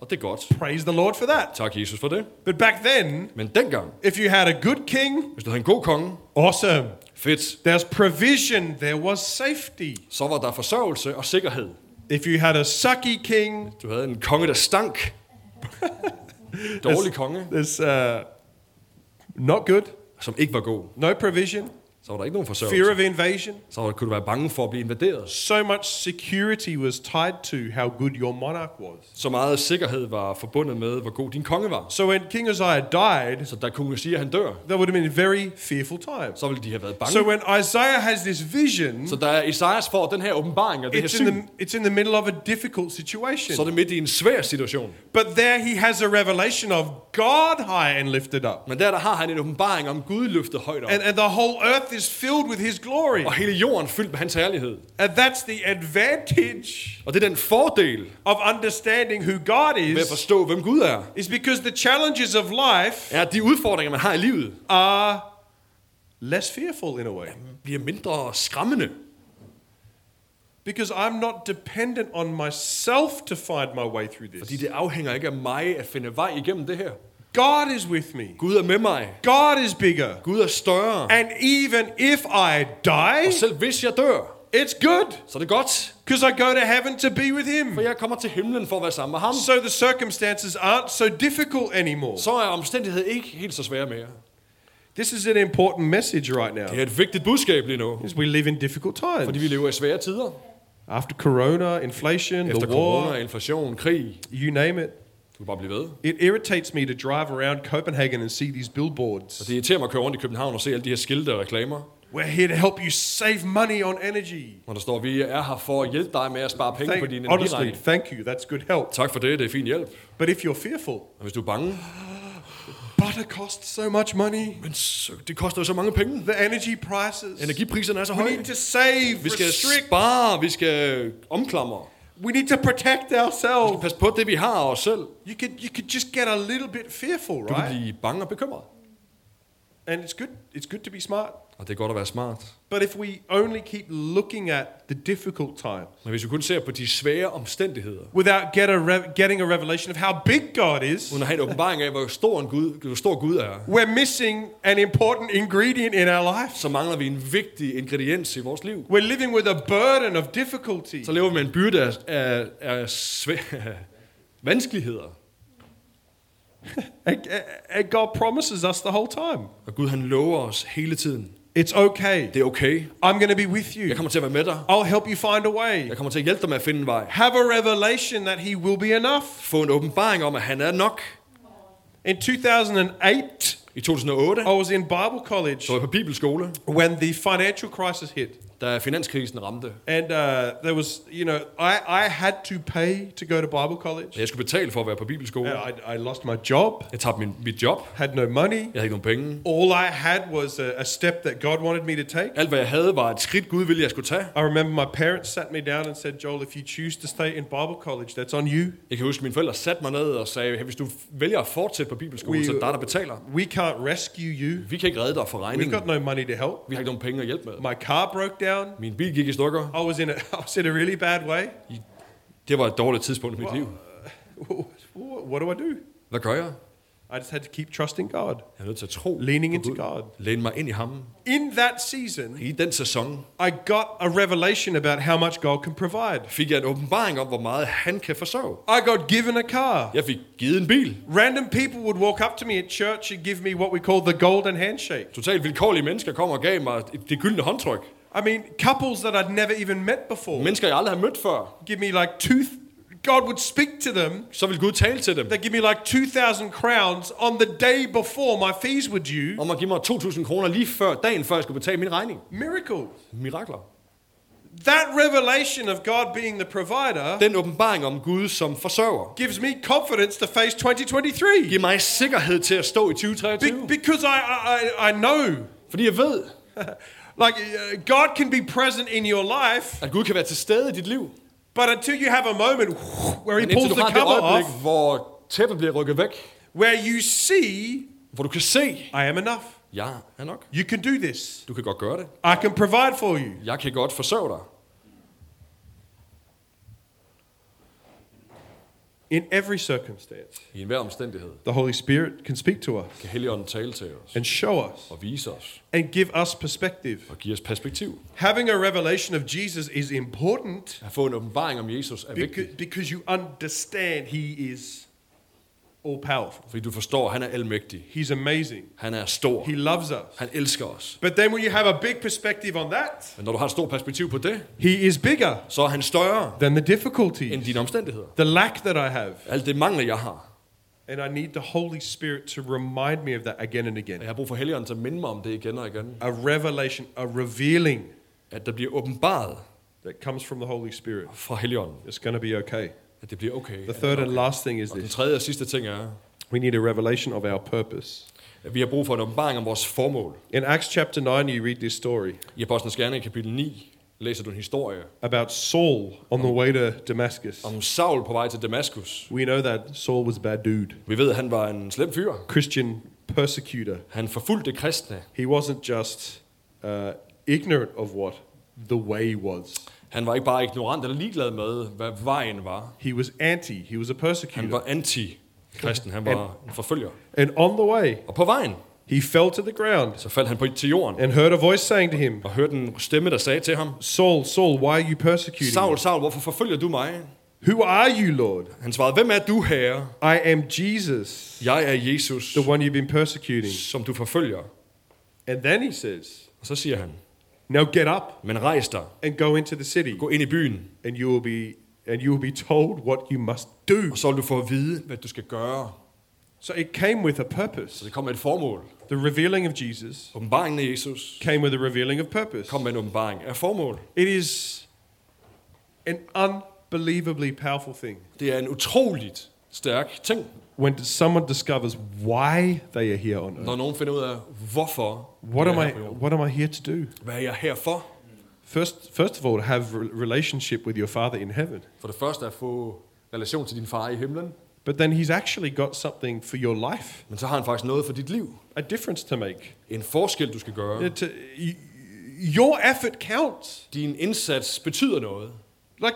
Speaker 2: Og det er godt.
Speaker 1: Praise the Lord for that.
Speaker 2: Tak, Jesus, for det.
Speaker 1: But back then,
Speaker 2: Men dengang,
Speaker 1: if you had a good king,
Speaker 2: hvis du havde en god konge,
Speaker 1: awesome.
Speaker 2: fedt,
Speaker 1: There's provision, there was safety.
Speaker 2: så var der forsørgelse og sikkerhed.
Speaker 1: If you had a sucky king,
Speaker 2: Du havde en konge, der stank. Dårlig konge,
Speaker 1: there's uh, not good,
Speaker 2: som ikke var god.
Speaker 1: no provision,
Speaker 2: Så var der ikke nogen
Speaker 1: fear
Speaker 2: forsørgelse.
Speaker 1: of invasion.
Speaker 2: Så var- kunne du være bange for at blive invaderet.
Speaker 1: So much security was tied to how good your monarch was.
Speaker 2: Så meget sikkerhed var forbundet med, hvor god din konge var.
Speaker 1: So when King Uzziah died,
Speaker 2: Så der kunne man sige, at han dør.
Speaker 1: there would have been very fearful times.
Speaker 2: Så ville de have været bange.
Speaker 1: So when Isaiah has this vision,
Speaker 2: Så der er Isaias får den her åbenbaring og det her
Speaker 1: it's
Speaker 2: syn.
Speaker 1: in the, it's in the middle of a difficult
Speaker 2: Så er
Speaker 1: situation.
Speaker 2: det midt i en svær situation.
Speaker 1: But there he has a revelation of God high and lifted up.
Speaker 2: Men der, der har han en åbenbaring om Gud løftet højt op.
Speaker 1: And, and the whole earth is filled with his glory.
Speaker 2: Og hele jorden fyldt med hans herlighed.
Speaker 1: And that's the advantage
Speaker 2: Og det er den fordel
Speaker 1: of understanding who God
Speaker 2: ved at
Speaker 1: is,
Speaker 2: forstå, hvem Gud er.
Speaker 1: is because the challenges of life
Speaker 2: Er at de udfordringer, man har i livet,
Speaker 1: are less fearful in a way.
Speaker 2: bliver mindre skræmmende.
Speaker 1: Because I'm not dependent on myself to find my way through
Speaker 2: Fordi
Speaker 1: this.
Speaker 2: det afhænger ikke af mig at finde vej igennem det her.
Speaker 1: God is with me.
Speaker 2: Gud er med mig.
Speaker 1: God is bigger.
Speaker 2: Gud er større.
Speaker 1: And even if I
Speaker 2: Og
Speaker 1: die,
Speaker 2: selv hvis jeg dør,
Speaker 1: it's good
Speaker 2: så er det godt.
Speaker 1: because I go to heaven to be with
Speaker 2: For
Speaker 1: Him.
Speaker 2: jeg kommer til himlen for at være sammen med ham.
Speaker 1: So the circumstances aren't so difficult anymore.
Speaker 2: Så er omstændighed ikke helt så svære mere.
Speaker 1: This is an important message right
Speaker 2: Det
Speaker 1: now.
Speaker 2: er et vigtigt budskab lige nu.
Speaker 1: Is we live in difficult
Speaker 2: Fordi vi
Speaker 1: times.
Speaker 2: lever i svære tider.
Speaker 1: After corona, inflation,
Speaker 2: Efter
Speaker 1: the
Speaker 2: corona,
Speaker 1: war,
Speaker 2: inflation, krig.
Speaker 1: you name it.
Speaker 2: Du kan bare blive ved.
Speaker 1: It irritates me to drive around Copenhagen and see these
Speaker 2: Og
Speaker 1: billboards
Speaker 2: det irriterer mig at køre rundt i København og se alle de her skilte og reklamer.
Speaker 1: We're here to help you save money on energy.
Speaker 2: Hvor der står, vi er her for at hjælpe dig med at spare penge på din
Speaker 1: Thank, honestly,
Speaker 2: energiregning.
Speaker 1: thank you. That's good help.
Speaker 2: Tak for det, det er fin hjælp.
Speaker 1: But if you're fearful,
Speaker 2: Og hvis du er bange,
Speaker 1: butter costs so much money.
Speaker 2: men så- det koster jo så mange penge.
Speaker 1: The energy prices.
Speaker 2: Energipriserne er så
Speaker 1: we
Speaker 2: høje.
Speaker 1: need to save,
Speaker 2: Vi skal
Speaker 1: restrict.
Speaker 2: spare, vi skal omklamre.
Speaker 1: We need to protect ourselves.
Speaker 2: Pas på det, vi har af os selv.
Speaker 1: You could you could just get a little bit fearful,
Speaker 2: Du kan
Speaker 1: right?
Speaker 2: blive bange og bekymret.
Speaker 1: and it's good. It's good to be smart.
Speaker 2: Og det er godt at være smart.
Speaker 1: But if we only keep looking at the difficult times
Speaker 2: Men hvis vi kun ser på de svære omstændigheder,
Speaker 1: without get a re- getting a revelation of how big God is,
Speaker 2: uden at have en åbenbaring af, hvor stor, en Gud, hvor stor Gud er,
Speaker 1: we're missing an important ingredient in our lives.
Speaker 2: så mangler vi en vigtig ingrediens i vores liv.
Speaker 1: We're living with a burden of difficulty.
Speaker 2: Så lever vi med en byrde af, af, af, svæ- af vanskeligheder.
Speaker 1: And, and God promises us the whole time.
Speaker 2: Og Gud han lover os hele tiden.
Speaker 1: It's okay.
Speaker 2: Det er okay.
Speaker 1: I'm going to be with
Speaker 2: Jeg
Speaker 1: you.
Speaker 2: kommer til at være med dig.
Speaker 1: I'll help you find a way.
Speaker 2: Jeg kommer til at hjælpe dig med at finde en vej.
Speaker 1: Have a revelation that He will be enough.
Speaker 2: Få en åbenbaring om, at han er nok.
Speaker 1: In 2008,
Speaker 2: I 2008,
Speaker 1: I was in Bible college
Speaker 2: så var jeg på bibelskole,
Speaker 1: when the financial crisis hit.
Speaker 2: da finanskrisen ramte.
Speaker 1: And uh, there was, you know, I, I had to pay to go to Bible college.
Speaker 2: Og jeg skulle betale for at være på
Speaker 1: And
Speaker 2: bibelskole.
Speaker 1: I, I lost my job,
Speaker 2: Jeg tabte min, mit job.
Speaker 1: had no money.
Speaker 2: Jeg havde ikke nogen penge.
Speaker 1: All I had was a, a step that God wanted me to take.
Speaker 2: Alt hvad jeg havde var et skridt Gud ville, jeg skulle tage.
Speaker 1: I remember my parents sat me down and said, Joel, if you choose to stay in Bible college, that's on you.
Speaker 2: Jeg kan huske, at mine forældre satte mig ned og sagde, hey, hvis du vælger at fortsætte på bibelskole,
Speaker 1: We-
Speaker 2: så er det dig, der betaler.
Speaker 1: We can't rescue you.
Speaker 2: Vi kan ikke redde dig for
Speaker 1: We've
Speaker 2: regningen.
Speaker 1: got no money to help.
Speaker 2: Vi har ikke nogen penge at hjælpe med.
Speaker 1: My car broke down.
Speaker 2: Min bil gik i stykker.
Speaker 1: I was in a, I was in a really bad way.
Speaker 2: Det var et dårligt tidspunkt i mit liv.
Speaker 1: What do I do?
Speaker 2: Hvad gør jeg?
Speaker 1: I just had to keep trusting God,
Speaker 2: Jeg er nødt til at tro.
Speaker 1: leaning
Speaker 2: på
Speaker 1: into
Speaker 2: Gud.
Speaker 1: God.
Speaker 2: Læne mig ind i ham.
Speaker 1: In that season,
Speaker 2: I den sæson
Speaker 1: I got a revelation about how much God can provide.
Speaker 2: fik jeg en åbenbaring om, hvor meget han kan forsørge.
Speaker 1: I got given a car.
Speaker 2: Jeg fik givet en bil.
Speaker 1: Random people would walk up to me at church and give me what we call the golden handshake.
Speaker 2: Totalt vilkårlige mennesker kom og gav mig det gyldne håndtryk.
Speaker 1: I mean, couples that I'd never even met before
Speaker 2: Mennesker, jeg aldrig har mødt før.
Speaker 1: give me like two. God would speak to them.
Speaker 2: Så vil Gud tale til dem
Speaker 1: They give me like 2,000 crowns on the day before my fees were due.
Speaker 2: om at give mig 2.000 kroner lige før dagen, før jeg skulle betale min regning.
Speaker 1: Miracles.
Speaker 2: Mirakler.
Speaker 1: That revelation of God being the provider
Speaker 2: Den åbenbaring om Gud som forsørger
Speaker 1: gives me confidence to face 2023
Speaker 2: giver mig sikkerhed til at stå i
Speaker 1: Be-
Speaker 2: 2023.
Speaker 1: because I, I, I- I know.
Speaker 2: Fordi jeg ved,
Speaker 1: Like, uh, God can be present in your life,
Speaker 2: at Gud kan være til stede i dit liv.
Speaker 1: but until you have a moment where He
Speaker 2: Men
Speaker 1: pulls
Speaker 2: indtil
Speaker 1: the
Speaker 2: du har det
Speaker 1: cover
Speaker 2: øjeblik,
Speaker 1: off,
Speaker 2: hvor tæppet bliver rykket væk,
Speaker 1: where you see,
Speaker 2: hvor du kan se,
Speaker 1: I am enough.
Speaker 2: jeg er nok.
Speaker 1: You can do this.
Speaker 2: Du kan godt gøre det.
Speaker 1: I can provide for you.
Speaker 2: Jeg kan godt forsørge dig.
Speaker 1: In every circumstance,
Speaker 2: I enhver omstændighed
Speaker 1: the Holy Spirit can speak to us
Speaker 2: kan Helligånden tale til os
Speaker 1: and show us
Speaker 2: og vise os
Speaker 1: and give us perspective.
Speaker 2: og give os perspektiv.
Speaker 1: Having a revelation of Jesus is important
Speaker 2: At få en åbenbaring om Jesus er
Speaker 1: because,
Speaker 2: vigtigt,
Speaker 1: because you understand He is all powerful,
Speaker 2: fordi du forstår, at han er almægtig.
Speaker 1: He's amazing,
Speaker 2: Han er stor.
Speaker 1: He loves us.
Speaker 2: Han elsker os.
Speaker 1: But then when you have a big perspective on that,
Speaker 2: Men når du har et stort perspektiv på det,
Speaker 1: he is bigger
Speaker 2: så er han større
Speaker 1: than the
Speaker 2: end
Speaker 1: difficulties,
Speaker 2: dine omstændigheder.
Speaker 1: the lack that I have.
Speaker 2: Alt det mangler, jeg har.
Speaker 1: And I need the Holy Spirit to remind me of that again and
Speaker 2: Og jeg
Speaker 1: again.
Speaker 2: har brug for Helligånden til at minde mig om det igen og igen.
Speaker 1: A revelation, a revealing
Speaker 2: At der bliver åbenbaret
Speaker 1: that comes from the Holy Spirit.
Speaker 2: fra Helligånden,
Speaker 1: It's going to be okay.
Speaker 2: at det bliver okay.
Speaker 1: The third and last thing is
Speaker 2: Og den
Speaker 1: this
Speaker 2: tredje og sidste ting er,
Speaker 1: we need a revelation of our purpose.
Speaker 2: at vi har brug for en åbenbaring om vores formål.
Speaker 1: In Acts chapter 9, you read this story
Speaker 2: I Apostlenes Gerning kapitel 9 læser du en historie
Speaker 1: about Saul on the way to Damascus.
Speaker 2: om Saul på vej til Damaskus.
Speaker 1: We know that Saul was a bad dude,
Speaker 2: Vi ved, at han var en slem fyr.
Speaker 1: Christian persecutor.
Speaker 2: Han forfulgte kristne.
Speaker 1: He wasn't just uh, ignorant of what the way was.
Speaker 2: Han var ikke bare ignorant eller ligeglad med, hvad vejen var.
Speaker 1: He was anti. He was a
Speaker 2: Han
Speaker 1: persecutor.
Speaker 2: var anti-kristen. Han var en forfølger.
Speaker 1: and on the way,
Speaker 2: Og på vejen,
Speaker 1: he fell to the ground
Speaker 2: så faldt han på til jorden
Speaker 1: and heard a voice saying to him,
Speaker 2: og hørte en stemme, der sagde til ham,
Speaker 1: Saul, Saul, why are you persecuting me?
Speaker 2: Saul, Saul, hvorfor forfølger du mig?
Speaker 1: Who are you, Lord?
Speaker 2: Han svarede, hvem er du, herre?
Speaker 1: I am Jesus,
Speaker 2: Jeg er Jesus,
Speaker 1: the one you've been persecuting.
Speaker 2: som du forfølger.
Speaker 1: And then he says,
Speaker 2: Og så siger han,
Speaker 1: Now get up
Speaker 2: men rejs dig,
Speaker 1: and go into the city,
Speaker 2: gå ind i byen,
Speaker 1: and you will be and you will be told what you must do.
Speaker 2: og så vil du få at vide, hvad du skal gøre.
Speaker 1: So it came with a
Speaker 2: Så
Speaker 1: purpose.
Speaker 2: det kom med et formål.
Speaker 1: The revealing of Jesus
Speaker 2: Åbenbaringen af Jesus
Speaker 1: came with a revealing of purpose.
Speaker 2: kom med en åbenbaring af formål.
Speaker 1: It is an unbelievably powerful thing.
Speaker 2: Det er en utroligt stærk ting,
Speaker 1: when someone discovers why they are here on earth.
Speaker 2: når nogen finder ud af, hvorfor
Speaker 1: What
Speaker 2: jeg
Speaker 1: am
Speaker 2: er
Speaker 1: I?
Speaker 2: her på jorden.
Speaker 1: What am I here to do?
Speaker 2: Hvad er jeg her for?
Speaker 1: First, first of all, to have a relationship with your Father in heaven.
Speaker 2: For det første at få relation til din far i himlen.
Speaker 1: but then he's actually got something for your life,
Speaker 2: Men så har han faktisk noget for dit liv.
Speaker 1: a difference to make.
Speaker 2: En forskel, du skal gøre.
Speaker 1: It, uh, y- your effort counts.
Speaker 2: Din indsats betyder noget.
Speaker 1: Like,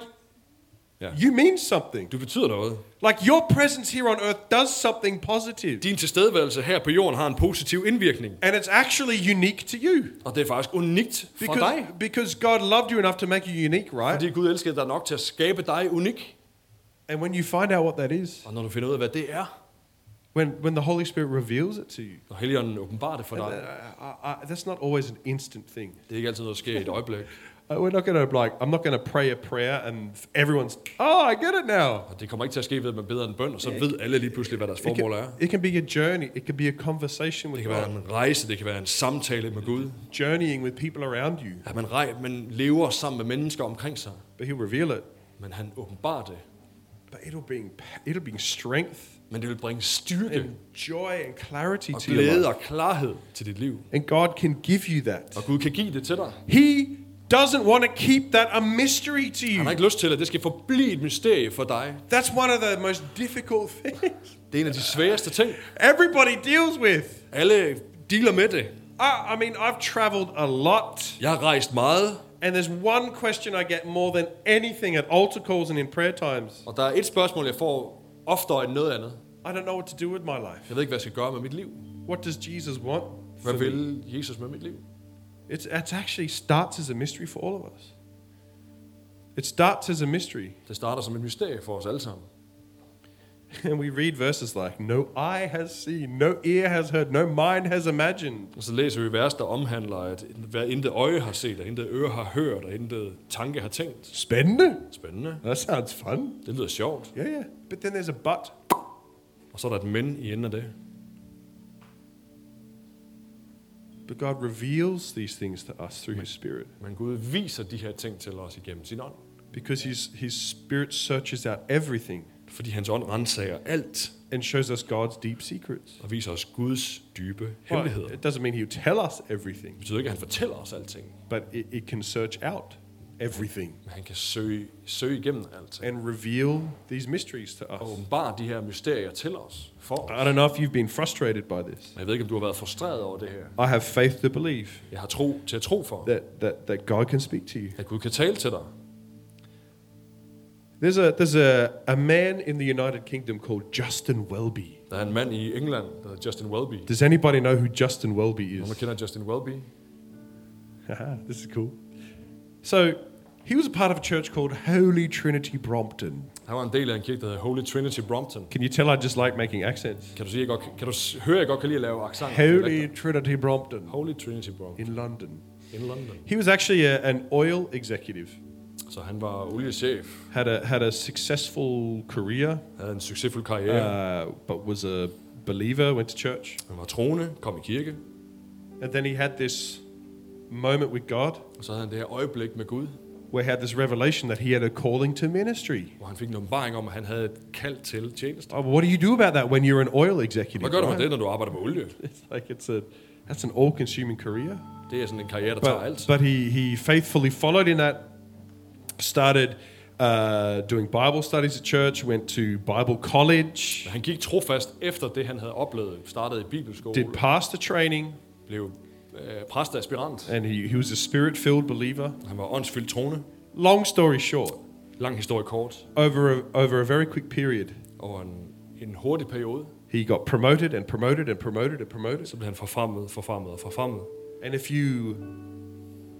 Speaker 2: Ja.
Speaker 1: you mean something.
Speaker 2: Du betyder noget.
Speaker 1: Like, your presence here on earth does something positive,
Speaker 2: Din tilstedeværelse her på jorden har en positiv indvirkning.
Speaker 1: and it's actually unique to you.
Speaker 2: Og det er faktisk unikt for
Speaker 1: Because,
Speaker 2: dig.
Speaker 1: because God loved you enough to make you unique, right?
Speaker 2: Fordi Gud elskede dig nok til at skabe dig unik.
Speaker 1: And when you find out what that is,
Speaker 2: Og når du finder ud af, hvad det er,
Speaker 1: when, when the Holy Spirit reveals it to you,
Speaker 2: når Helligånden åbenbarer det for
Speaker 1: and, uh,
Speaker 2: dig,
Speaker 1: I, I, that's not always an instant thing.
Speaker 2: det er ikke altid noget, der sker i et øjeblik.
Speaker 1: Uh, We're not going to like. I'm not going to pray a prayer and everyone's. Oh, I get it now.
Speaker 2: Og det kommer ikke til at ske ved, at man beder en bøn, og så ved alle lige pludselig, hvad deres
Speaker 1: It
Speaker 2: formål er.
Speaker 1: can, it can be a journey. It can be a conversation
Speaker 2: Det
Speaker 1: with
Speaker 2: kan være
Speaker 1: God.
Speaker 2: en rejse, det kan være en samtale med Gud.
Speaker 1: Journeying with people around you,
Speaker 2: At man, rej- man lever sammen med mennesker omkring sig,
Speaker 1: but He'll reveal it.
Speaker 2: men han åbenbarer det.
Speaker 1: But it'll bring pa- it'll bring strength
Speaker 2: Men det vil bringe styrke
Speaker 1: and joy and clarity
Speaker 2: og
Speaker 1: to your
Speaker 2: glæde
Speaker 1: life.
Speaker 2: og klarhed til dit liv.
Speaker 1: And God can give you that.
Speaker 2: Og Gud kan give det til dig.
Speaker 1: He doesn't want to keep that a mystery to
Speaker 2: Han har
Speaker 1: you.
Speaker 2: ikke lyst til, at det skal forblive et mysterie for dig.
Speaker 1: That's one of the most difficult things
Speaker 2: Det er en af de sværeste ting.
Speaker 1: everybody deals with.
Speaker 2: Alle dealer med det.
Speaker 1: I, I mean, I've traveled a lot.
Speaker 2: Jeg har rejst meget,
Speaker 1: And there's one question I get more than anything at altar calls and in prayer times.
Speaker 2: og der er et spørgsmål, jeg får oftere end noget andet.
Speaker 1: I don't know what to do with my life.
Speaker 2: Jeg ved ikke, hvad jeg skal gøre med mit liv.
Speaker 1: What does Jesus want? for
Speaker 2: Hvad
Speaker 1: me?
Speaker 2: vil Jesus med mit liv?
Speaker 1: It's, it actually starts as a mystery for all of us. It starts as a mystery.
Speaker 2: Det starter som et mysterie for os alle sammen.
Speaker 1: And we read verses like, No eye has seen, no ear has heard, no mind has imagined.
Speaker 2: Og så læser vi vers, der omhandler, at hvad intet øje har set, og intet øre har hørt, og intet tanke har tænkt.
Speaker 1: Spændende.
Speaker 2: Spændende.
Speaker 1: That sounds fun.
Speaker 2: Det lyder sjovt.
Speaker 1: Yeah, yeah. But then there's a but.
Speaker 2: Og så er der et men i enden af det.
Speaker 1: But God reveals these things to us through His Spirit
Speaker 2: Men Gud viser de her ting til os igennem sin ånd.
Speaker 1: because His, his Spirit searches out everything
Speaker 2: Fordi hans ånd renser alt
Speaker 1: and shows us God's deep secrets.
Speaker 2: og viser os Guds dybe
Speaker 1: Well,
Speaker 2: hemmeligheder. Det
Speaker 1: it doesn't mean he'll tell us everything,
Speaker 2: betyder ikke, at han fortæller os alting,
Speaker 1: but it, it can search out everything
Speaker 2: men han kan søge, søge igennem alting.
Speaker 1: and reveal these mysteries to
Speaker 2: Og
Speaker 1: us.
Speaker 2: åbenbare de her mysterier til os. For os.
Speaker 1: I don't know if you've been frustrated by this.
Speaker 2: Men jeg ved ikke, om du har været frustreret over det her.
Speaker 1: I have faith to believe
Speaker 2: Jeg har tro til at tro for,
Speaker 1: that, that, that God can speak to you.
Speaker 2: at Gud kan tale til dig.
Speaker 1: There's a, there's a, a man in the United Kingdom called Justin Welby.
Speaker 2: Der er en mand i England, der hedder Justin Welby.
Speaker 1: Does anybody know who Justin Welby
Speaker 2: Nogen der
Speaker 1: is?
Speaker 2: kender Justin Welby.
Speaker 1: Haha, this is cool. So, he was a part of a church called Holy Trinity Brompton.
Speaker 2: Han var en del af en kirke, der hedder Holy Trinity Brompton.
Speaker 1: Can you tell I just like making accents?
Speaker 2: Kan du, sige, jeg godt, kan du s- høre, at jeg godt kan lide at lave accent?
Speaker 1: Holy Trinity Brompton
Speaker 2: Holy Trinity Brompton
Speaker 1: in London.
Speaker 2: in London.
Speaker 1: He was actually a, an oil executive,
Speaker 2: Så han var oliechef.
Speaker 1: had a, had a successful career,
Speaker 2: Han havde en succesfuld karriere.
Speaker 1: uh, but was a believer, went to church.
Speaker 2: Han var troende, kom i kirke.
Speaker 1: And then he had this moment with God
Speaker 2: Og så havde han det her øjeblik med Gud,
Speaker 1: where he had this revelation that he had a calling to ministry.
Speaker 2: hvor han fik en åbenbaring om, at han havde et kald til tjeneste.
Speaker 1: Oh, what do you do about that when you're an oil
Speaker 2: Hvad
Speaker 1: executive?
Speaker 2: gør du med
Speaker 1: right?
Speaker 2: det, når du arbejder med olie?
Speaker 1: It's like it's a, that's an all consuming career.
Speaker 2: Det er sådan en karriere, der tager
Speaker 1: But,
Speaker 2: alt.
Speaker 1: but he, he faithfully followed in that, started uh, doing Bible studies at church, went to Bible college,
Speaker 2: Men han gik trofast efter det, han havde oplevet. Startede i bibelskole,
Speaker 1: did pastor training,
Speaker 2: blev øh, præsteaspirant.
Speaker 1: and he, he was a spirit filled believer.
Speaker 2: Han var åndsfyldt troende.
Speaker 1: Long story short,
Speaker 2: Lang historie kort.
Speaker 1: over a, over a very quick period,
Speaker 2: Over en, en hurtig periode,
Speaker 1: he got promoted and promoted and promoted and promoted.
Speaker 2: så blev han forfremmet, forfremmet og forfremmet.
Speaker 1: And if you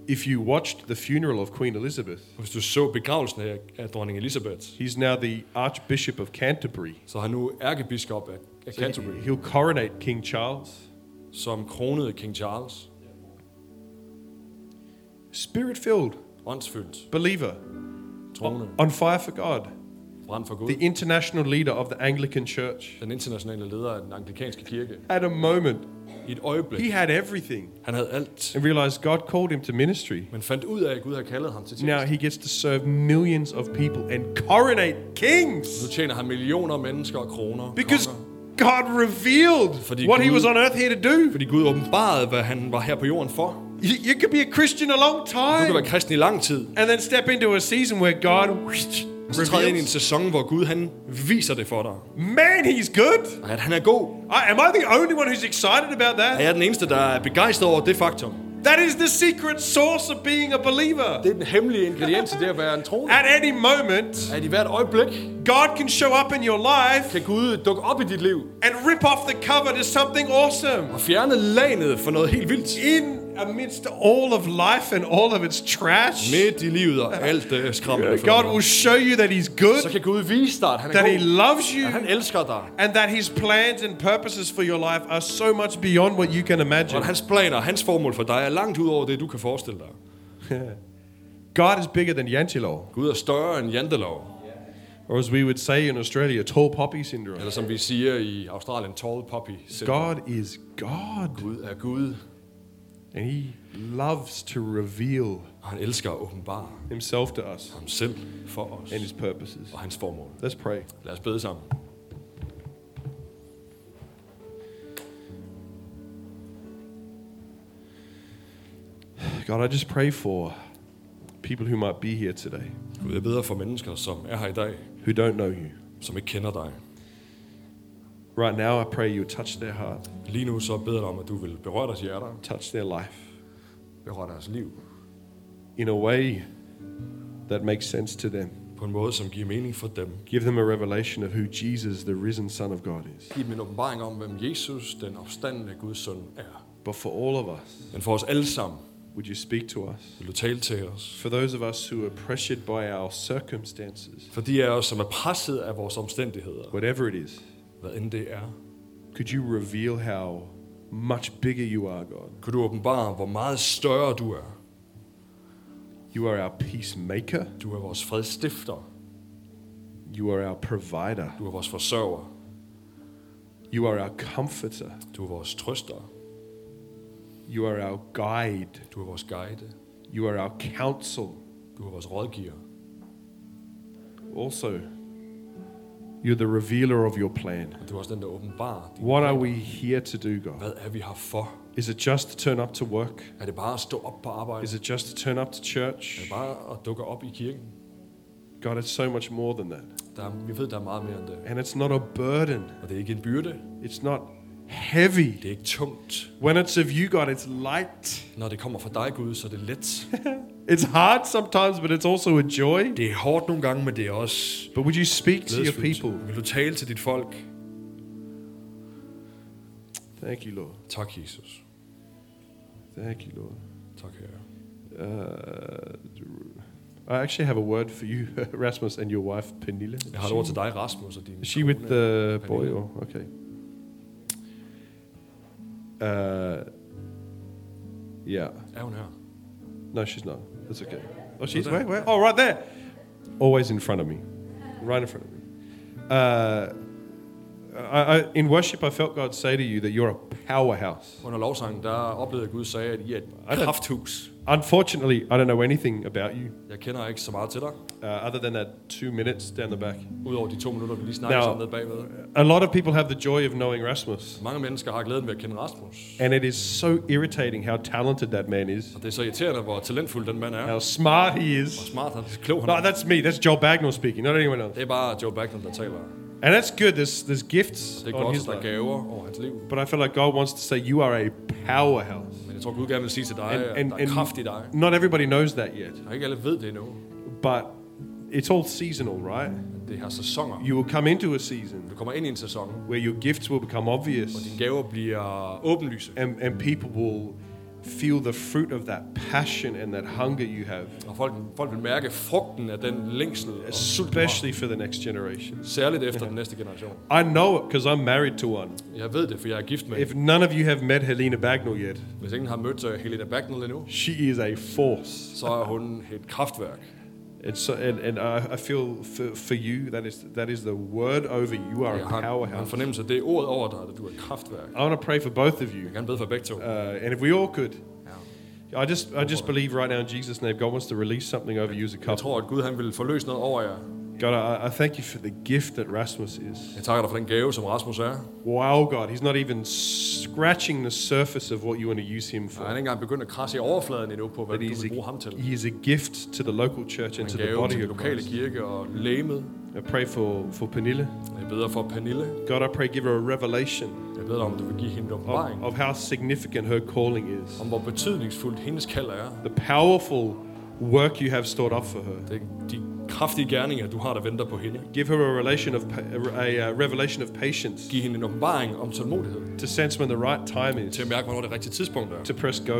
Speaker 1: if you watched the funeral of Queen Elizabeth,
Speaker 2: Og hvis du så begravelsen af, af dronning Elizabeth,
Speaker 1: he's now the Archbishop of Canterbury.
Speaker 2: så er han nu ærkebiskop af, af Canterbury,
Speaker 1: He'll coronate King Charles.
Speaker 2: som kronede King Charles.
Speaker 1: Spirit filled,
Speaker 2: Åndsfyldt,
Speaker 1: believer,
Speaker 2: troende,
Speaker 1: on fire for God.
Speaker 2: brændt for Gud.
Speaker 1: The international leader of the Anglican Church.
Speaker 2: den internationale leder af den anglikanske kirke,
Speaker 1: At a moment,
Speaker 2: i et øjeblik.
Speaker 1: he had everything
Speaker 2: Han havde alt,
Speaker 1: and realized God called him to ministry.
Speaker 2: men fandt ud af, at Gud havde kaldet ham til
Speaker 1: Now
Speaker 2: tjeneste.
Speaker 1: he gets to serve millions of people and coronate
Speaker 2: Nu
Speaker 1: kings
Speaker 2: tjener han millioner af mennesker og kroner.
Speaker 1: because
Speaker 2: konger.
Speaker 1: God revealed
Speaker 2: Fordi
Speaker 1: what he
Speaker 2: Gud-
Speaker 1: was on earth here to do.
Speaker 2: Fordi Gud åbenbarede, hvad han var her på jorden for.
Speaker 1: You, you could be a Christian a long
Speaker 2: Du kan
Speaker 1: time
Speaker 2: være kristen i lang tid,
Speaker 1: and then step into a season where God
Speaker 2: Så træder jeg ind i en
Speaker 1: reveals.
Speaker 2: sæson, hvor Gud han viser det for dig.
Speaker 1: Man, he's good.
Speaker 2: Og at han er god.
Speaker 1: I, am I the only one who's excited about
Speaker 2: Og
Speaker 1: that?
Speaker 2: jeg er den eneste, der er begejstret over det faktum.
Speaker 1: That is the secret source of being a believer.
Speaker 3: Det er den hemmelige ingrediens til det at være en troende.
Speaker 1: At any moment,
Speaker 3: At i hvert øjeblik
Speaker 1: God can show up in your life
Speaker 3: kan Gud dukke op i dit liv
Speaker 1: and rip off the cover to something awesome.
Speaker 2: Og fjerne lanet for noget helt vildt.
Speaker 1: In amidst all of life and all of its trash,
Speaker 2: Midt i livet og alt det skræmmende. for
Speaker 1: God
Speaker 2: dig.
Speaker 1: will show you that he's
Speaker 3: Så
Speaker 1: good,
Speaker 3: kan Gud vise dig, at han er
Speaker 1: that he
Speaker 3: god.
Speaker 1: loves
Speaker 3: At han
Speaker 1: you,
Speaker 3: elsker dig.
Speaker 1: and that his plans and purposes for your life are so much beyond what you can
Speaker 2: Og
Speaker 1: imagine.
Speaker 2: at hans planer, hans formål for dig er langt ud over det, du kan forestille dig.
Speaker 1: God is bigger than Yantilor,
Speaker 2: Gud er større end jantelov.
Speaker 1: or as we would say in Australia, tall poppy syndrome.
Speaker 3: Eller som vi siger i Australien, tall poppy. syndrome.
Speaker 1: God is God,
Speaker 3: Gud er Gud,
Speaker 1: and he loves to reveal
Speaker 2: Og han elsker at åbenbare
Speaker 1: himself to us
Speaker 2: ham selv for os.
Speaker 1: and his purposes.
Speaker 2: Og hans formål.
Speaker 1: Let's pray.
Speaker 2: Lad os bede sammen.
Speaker 1: God, I just pray for people who might be here today
Speaker 2: Gud, jeg beder for mennesker, som er her i dag,
Speaker 1: who don't know you.
Speaker 2: som ikke kender dig.
Speaker 1: Right now, I pray you touch their heart,
Speaker 2: Lige nu så beder jeg dig om, at du vil berøre deres hjerter,
Speaker 1: touch their life
Speaker 2: berøre deres liv,
Speaker 1: in a way that makes sense to them.
Speaker 2: på en måde, som giver mening for dem.
Speaker 1: Give them a revelation of who Jesus, the risen Son of God, is.
Speaker 2: Giv dem en åbenbaring om, hvem Jesus, den opstandende Guds søn, er.
Speaker 1: But for all of us,
Speaker 2: Men for os alle sammen
Speaker 1: would you speak to us?
Speaker 2: vil du tale til os.
Speaker 1: For those of us who are pressured by our circumstances,
Speaker 2: For de af os, som er presset af vores omstændigheder,
Speaker 1: whatever it is,
Speaker 2: hvad end det er,
Speaker 1: could you reveal how much bigger you are, God?
Speaker 2: kunne du åbenbare, hvor meget større du er.
Speaker 1: You are our peacemaker,
Speaker 2: Du er vores fredstifter.
Speaker 1: you are our provider,
Speaker 2: Du er vores forsørger.
Speaker 1: you are our comforter,
Speaker 2: Du er vores trøster.
Speaker 1: you are our guide,
Speaker 2: Du er vores guide.
Speaker 1: you are our counsel.
Speaker 2: Du er vores rådgiver.
Speaker 1: Also, you're the revealer of your plan.
Speaker 2: Og du er også den, der åbenbarer. din-
Speaker 1: What are we here to do, God?
Speaker 2: Hvad er vi her for?
Speaker 1: Is it just to turn up to work?
Speaker 2: Er det bare at stå op på arbejde?
Speaker 1: Is it just to turn up to
Speaker 2: Er det
Speaker 1: church?
Speaker 2: bare at dukke op i kirken? God,
Speaker 1: God, it's so much more than that.
Speaker 2: der er, vi ved, der er meget mere end det.
Speaker 1: And it's not a burden.
Speaker 2: Og det er ikke en byrde.
Speaker 1: It's not heavy.
Speaker 2: Det er ikke tungt.
Speaker 1: When it's of you, God, it's light.
Speaker 2: Når det kommer fra dig, Gud, så er det let.
Speaker 1: It's hard sometimes, but it's also a joy.
Speaker 2: Det er hårdt nogle gange, men det er også
Speaker 1: But would you speak to your people?
Speaker 2: glædesfuldt. Vil du tale til dit folk?
Speaker 1: Thank you, Lord.
Speaker 2: Tak, Jesus.
Speaker 1: Thank you, Lord.
Speaker 2: Tak, Herre.
Speaker 1: Uh, I actually have a word for you, Rasmus, and your wife, Pernille.
Speaker 2: Jeg har et ord til dig, Rasmus, og din
Speaker 1: Is she with
Speaker 2: kone.
Speaker 1: the boy
Speaker 2: Pernille.
Speaker 1: or okay? Uh, yeah.
Speaker 2: Er hun her?
Speaker 1: No, she's not. That's okay. Oh, she's
Speaker 2: there.
Speaker 1: where? Where? Oh, right there. Always in front of me, right in front of me. Uh, I, I, in worship, I felt God say to you that you're a powerhouse.
Speaker 2: Under lovsangen, der oplevede jeg, at Gud sagde, at I er et krafthus.
Speaker 1: Unfortunately, I don't know anything about you
Speaker 2: Jeg kender ikke så meget til dig,
Speaker 1: uh, other than that two minutes down the back.
Speaker 2: udover de to minutter, vi lige snakkede
Speaker 1: Now-
Speaker 2: sammen nede bagved.
Speaker 1: A lot of people have the joy of knowing Rasmus,
Speaker 2: Mange mennesker har glæden ved at kende Rasmus.
Speaker 1: and it is so irritating how talented that man is,
Speaker 2: Og det er så irriterende, hvor talentfuld den mand er.
Speaker 1: how smart he is.
Speaker 2: Hvor smart han er, klog han
Speaker 1: No,
Speaker 2: er.
Speaker 1: that's me. That's Joel Bagnall speaking, not anyone else.
Speaker 2: Det er bare Joe Bagnall, der taler.
Speaker 1: And that's good. There's there's gifts
Speaker 2: Det er
Speaker 1: on
Speaker 2: godt, at
Speaker 1: his
Speaker 2: der er
Speaker 1: life.
Speaker 2: gaver over hans liv.
Speaker 1: But I feel like God wants to say you are a powerhouse,
Speaker 2: Men jeg tror, Gud gerne vil sige til dig,
Speaker 1: and
Speaker 2: at
Speaker 1: and,
Speaker 2: der er kraft i dig.
Speaker 1: and not everybody knows that yet.
Speaker 2: Og ikke alle ved det endnu.
Speaker 1: But it's all seasonal, right?
Speaker 2: Men Det her sæsoner.
Speaker 1: You will come into a season
Speaker 2: Du kommer ind i en sæson,
Speaker 1: where your gifts will become
Speaker 2: hvor
Speaker 1: obvious,
Speaker 2: dine gaver bliver åbenlyse.
Speaker 1: and and people will feel the fruit of that passion and that hunger you have,
Speaker 2: Og folk, folk vil mærke frugten af den længsel. og sulten, du har.
Speaker 1: especially for the next generation.
Speaker 2: Særligt efter den næste generation.
Speaker 1: I know it because I'm married to one.
Speaker 2: Jeg ved det, for jeg er gift med hende.
Speaker 1: If none of you have met Helena Bagnall yet,
Speaker 2: Hvis ingen har mødt øh, Helena Bagnall endnu,
Speaker 1: she is a force.
Speaker 2: så er hun et kraftværk.
Speaker 1: It's so, and, and I, I feel for, for you that is that is the word over you. You are
Speaker 2: Jeg
Speaker 1: a
Speaker 2: har, har en
Speaker 1: powerhouse.
Speaker 2: fornemmelse af det ord over dig, at du er et kraftværk.
Speaker 1: I want to pray for both of
Speaker 2: Jeg
Speaker 1: you,
Speaker 2: kan bede for begge to.
Speaker 1: uh, and if we all could, I just I just believe right now in Jesus' name, God wants to release something over you as a
Speaker 2: Jeg
Speaker 1: couple.
Speaker 2: tror, at Gud han vil forløse noget over jer.
Speaker 1: God, I, I thank you for the gift that Rasmus is.
Speaker 3: Jeg takker dig for den gave, som Rasmus er. Nej,
Speaker 1: Wow, God, he's not even scratching the surface of what you want to use him for.
Speaker 3: han er ikke engang begyndt at krasse i overfladen endnu på, hvad
Speaker 1: But
Speaker 3: du
Speaker 1: he's
Speaker 3: vil bruge
Speaker 1: a,
Speaker 3: ham til.
Speaker 1: he is a gift to the local church and to
Speaker 3: En
Speaker 1: the
Speaker 3: gave til
Speaker 1: body
Speaker 3: den
Speaker 1: of
Speaker 3: lokale
Speaker 1: Christ.
Speaker 3: kirke og læmet.
Speaker 1: I pray for, for Pernille.
Speaker 3: Jeg beder for Pernille.
Speaker 1: God, I pray give her a revelation
Speaker 3: Jeg beder om, at du vil give hende en åbenbaring.
Speaker 1: of, of how significant her calling is.
Speaker 3: Om hvor betydningsfuldt hendes kald er.
Speaker 1: The powerful work you have stored up for her.
Speaker 3: Det er de kraftige gerninger, du har, der venter på hende.
Speaker 1: Give her a, relation of, pa- a, a, uh, revelation of patience
Speaker 3: Giv hende en åbenbaring om tålmodighed.
Speaker 1: to sense when the right time is,
Speaker 3: Til at mærke, hvornår det rigtige tidspunkt er.
Speaker 1: to press go,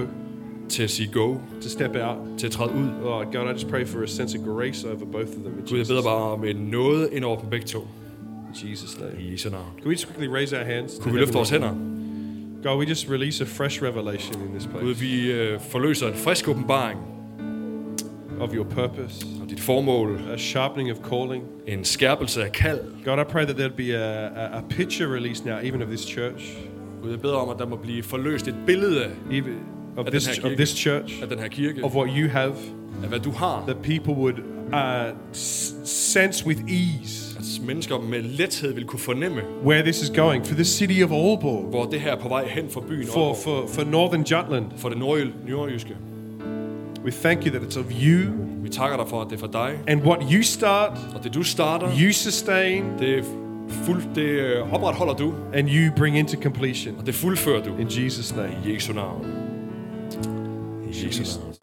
Speaker 3: Til at sige go.
Speaker 1: to step out.
Speaker 3: Til at træde ud.
Speaker 1: Oh, God, I just pray for a sense of grace over both of them. In
Speaker 3: Gud, jeg
Speaker 1: Jesus,
Speaker 3: beder bare om en noget ind over på begge to.
Speaker 1: in Jesus' name.
Speaker 3: I Jesu navn.
Speaker 1: Can we just quickly raise our hands? to
Speaker 3: Kunne vi
Speaker 1: heaven
Speaker 3: løfte vores
Speaker 1: right
Speaker 3: hænder?
Speaker 1: now? God, we just release a fresh revelation in this
Speaker 2: Gud,
Speaker 1: place
Speaker 2: vi øh, forløser en frisk åbenbaring
Speaker 1: of your purpose,
Speaker 2: om dit formål.
Speaker 1: a sharpening of calling.
Speaker 2: En skærpelse af kald.
Speaker 1: God, I pray that there'd be a, a, a picture released now, even of this church,
Speaker 3: Gud, jeg beder om, at der må blive forløst et billede af-
Speaker 1: even of
Speaker 2: At
Speaker 1: this
Speaker 2: den her
Speaker 1: of
Speaker 2: kirke-
Speaker 1: this church,
Speaker 2: af den her kirke,
Speaker 1: of what you have,
Speaker 2: af hvad du har.
Speaker 1: that people would uh, s- sense with ease
Speaker 2: At mennesker med lethed vil kunne fornemme,
Speaker 1: where this is going for the city of Aalborg,
Speaker 2: hvor det her er på vej hen for byen
Speaker 1: for
Speaker 2: Aalborg,
Speaker 1: for, for Northern Jutland.
Speaker 2: for det nordjyl- nordjyske.
Speaker 1: We thank you that it's of you
Speaker 2: Vi takker dig for, at det er for dig,
Speaker 1: and what you start,
Speaker 2: og det du starter,
Speaker 1: you sustain,
Speaker 2: det, fuld, det øh, opretholder du,
Speaker 1: and you bring into completion.
Speaker 2: og det fuldfører du.
Speaker 1: In Jesus' name.
Speaker 2: I Jesu navn. I Jesu navn.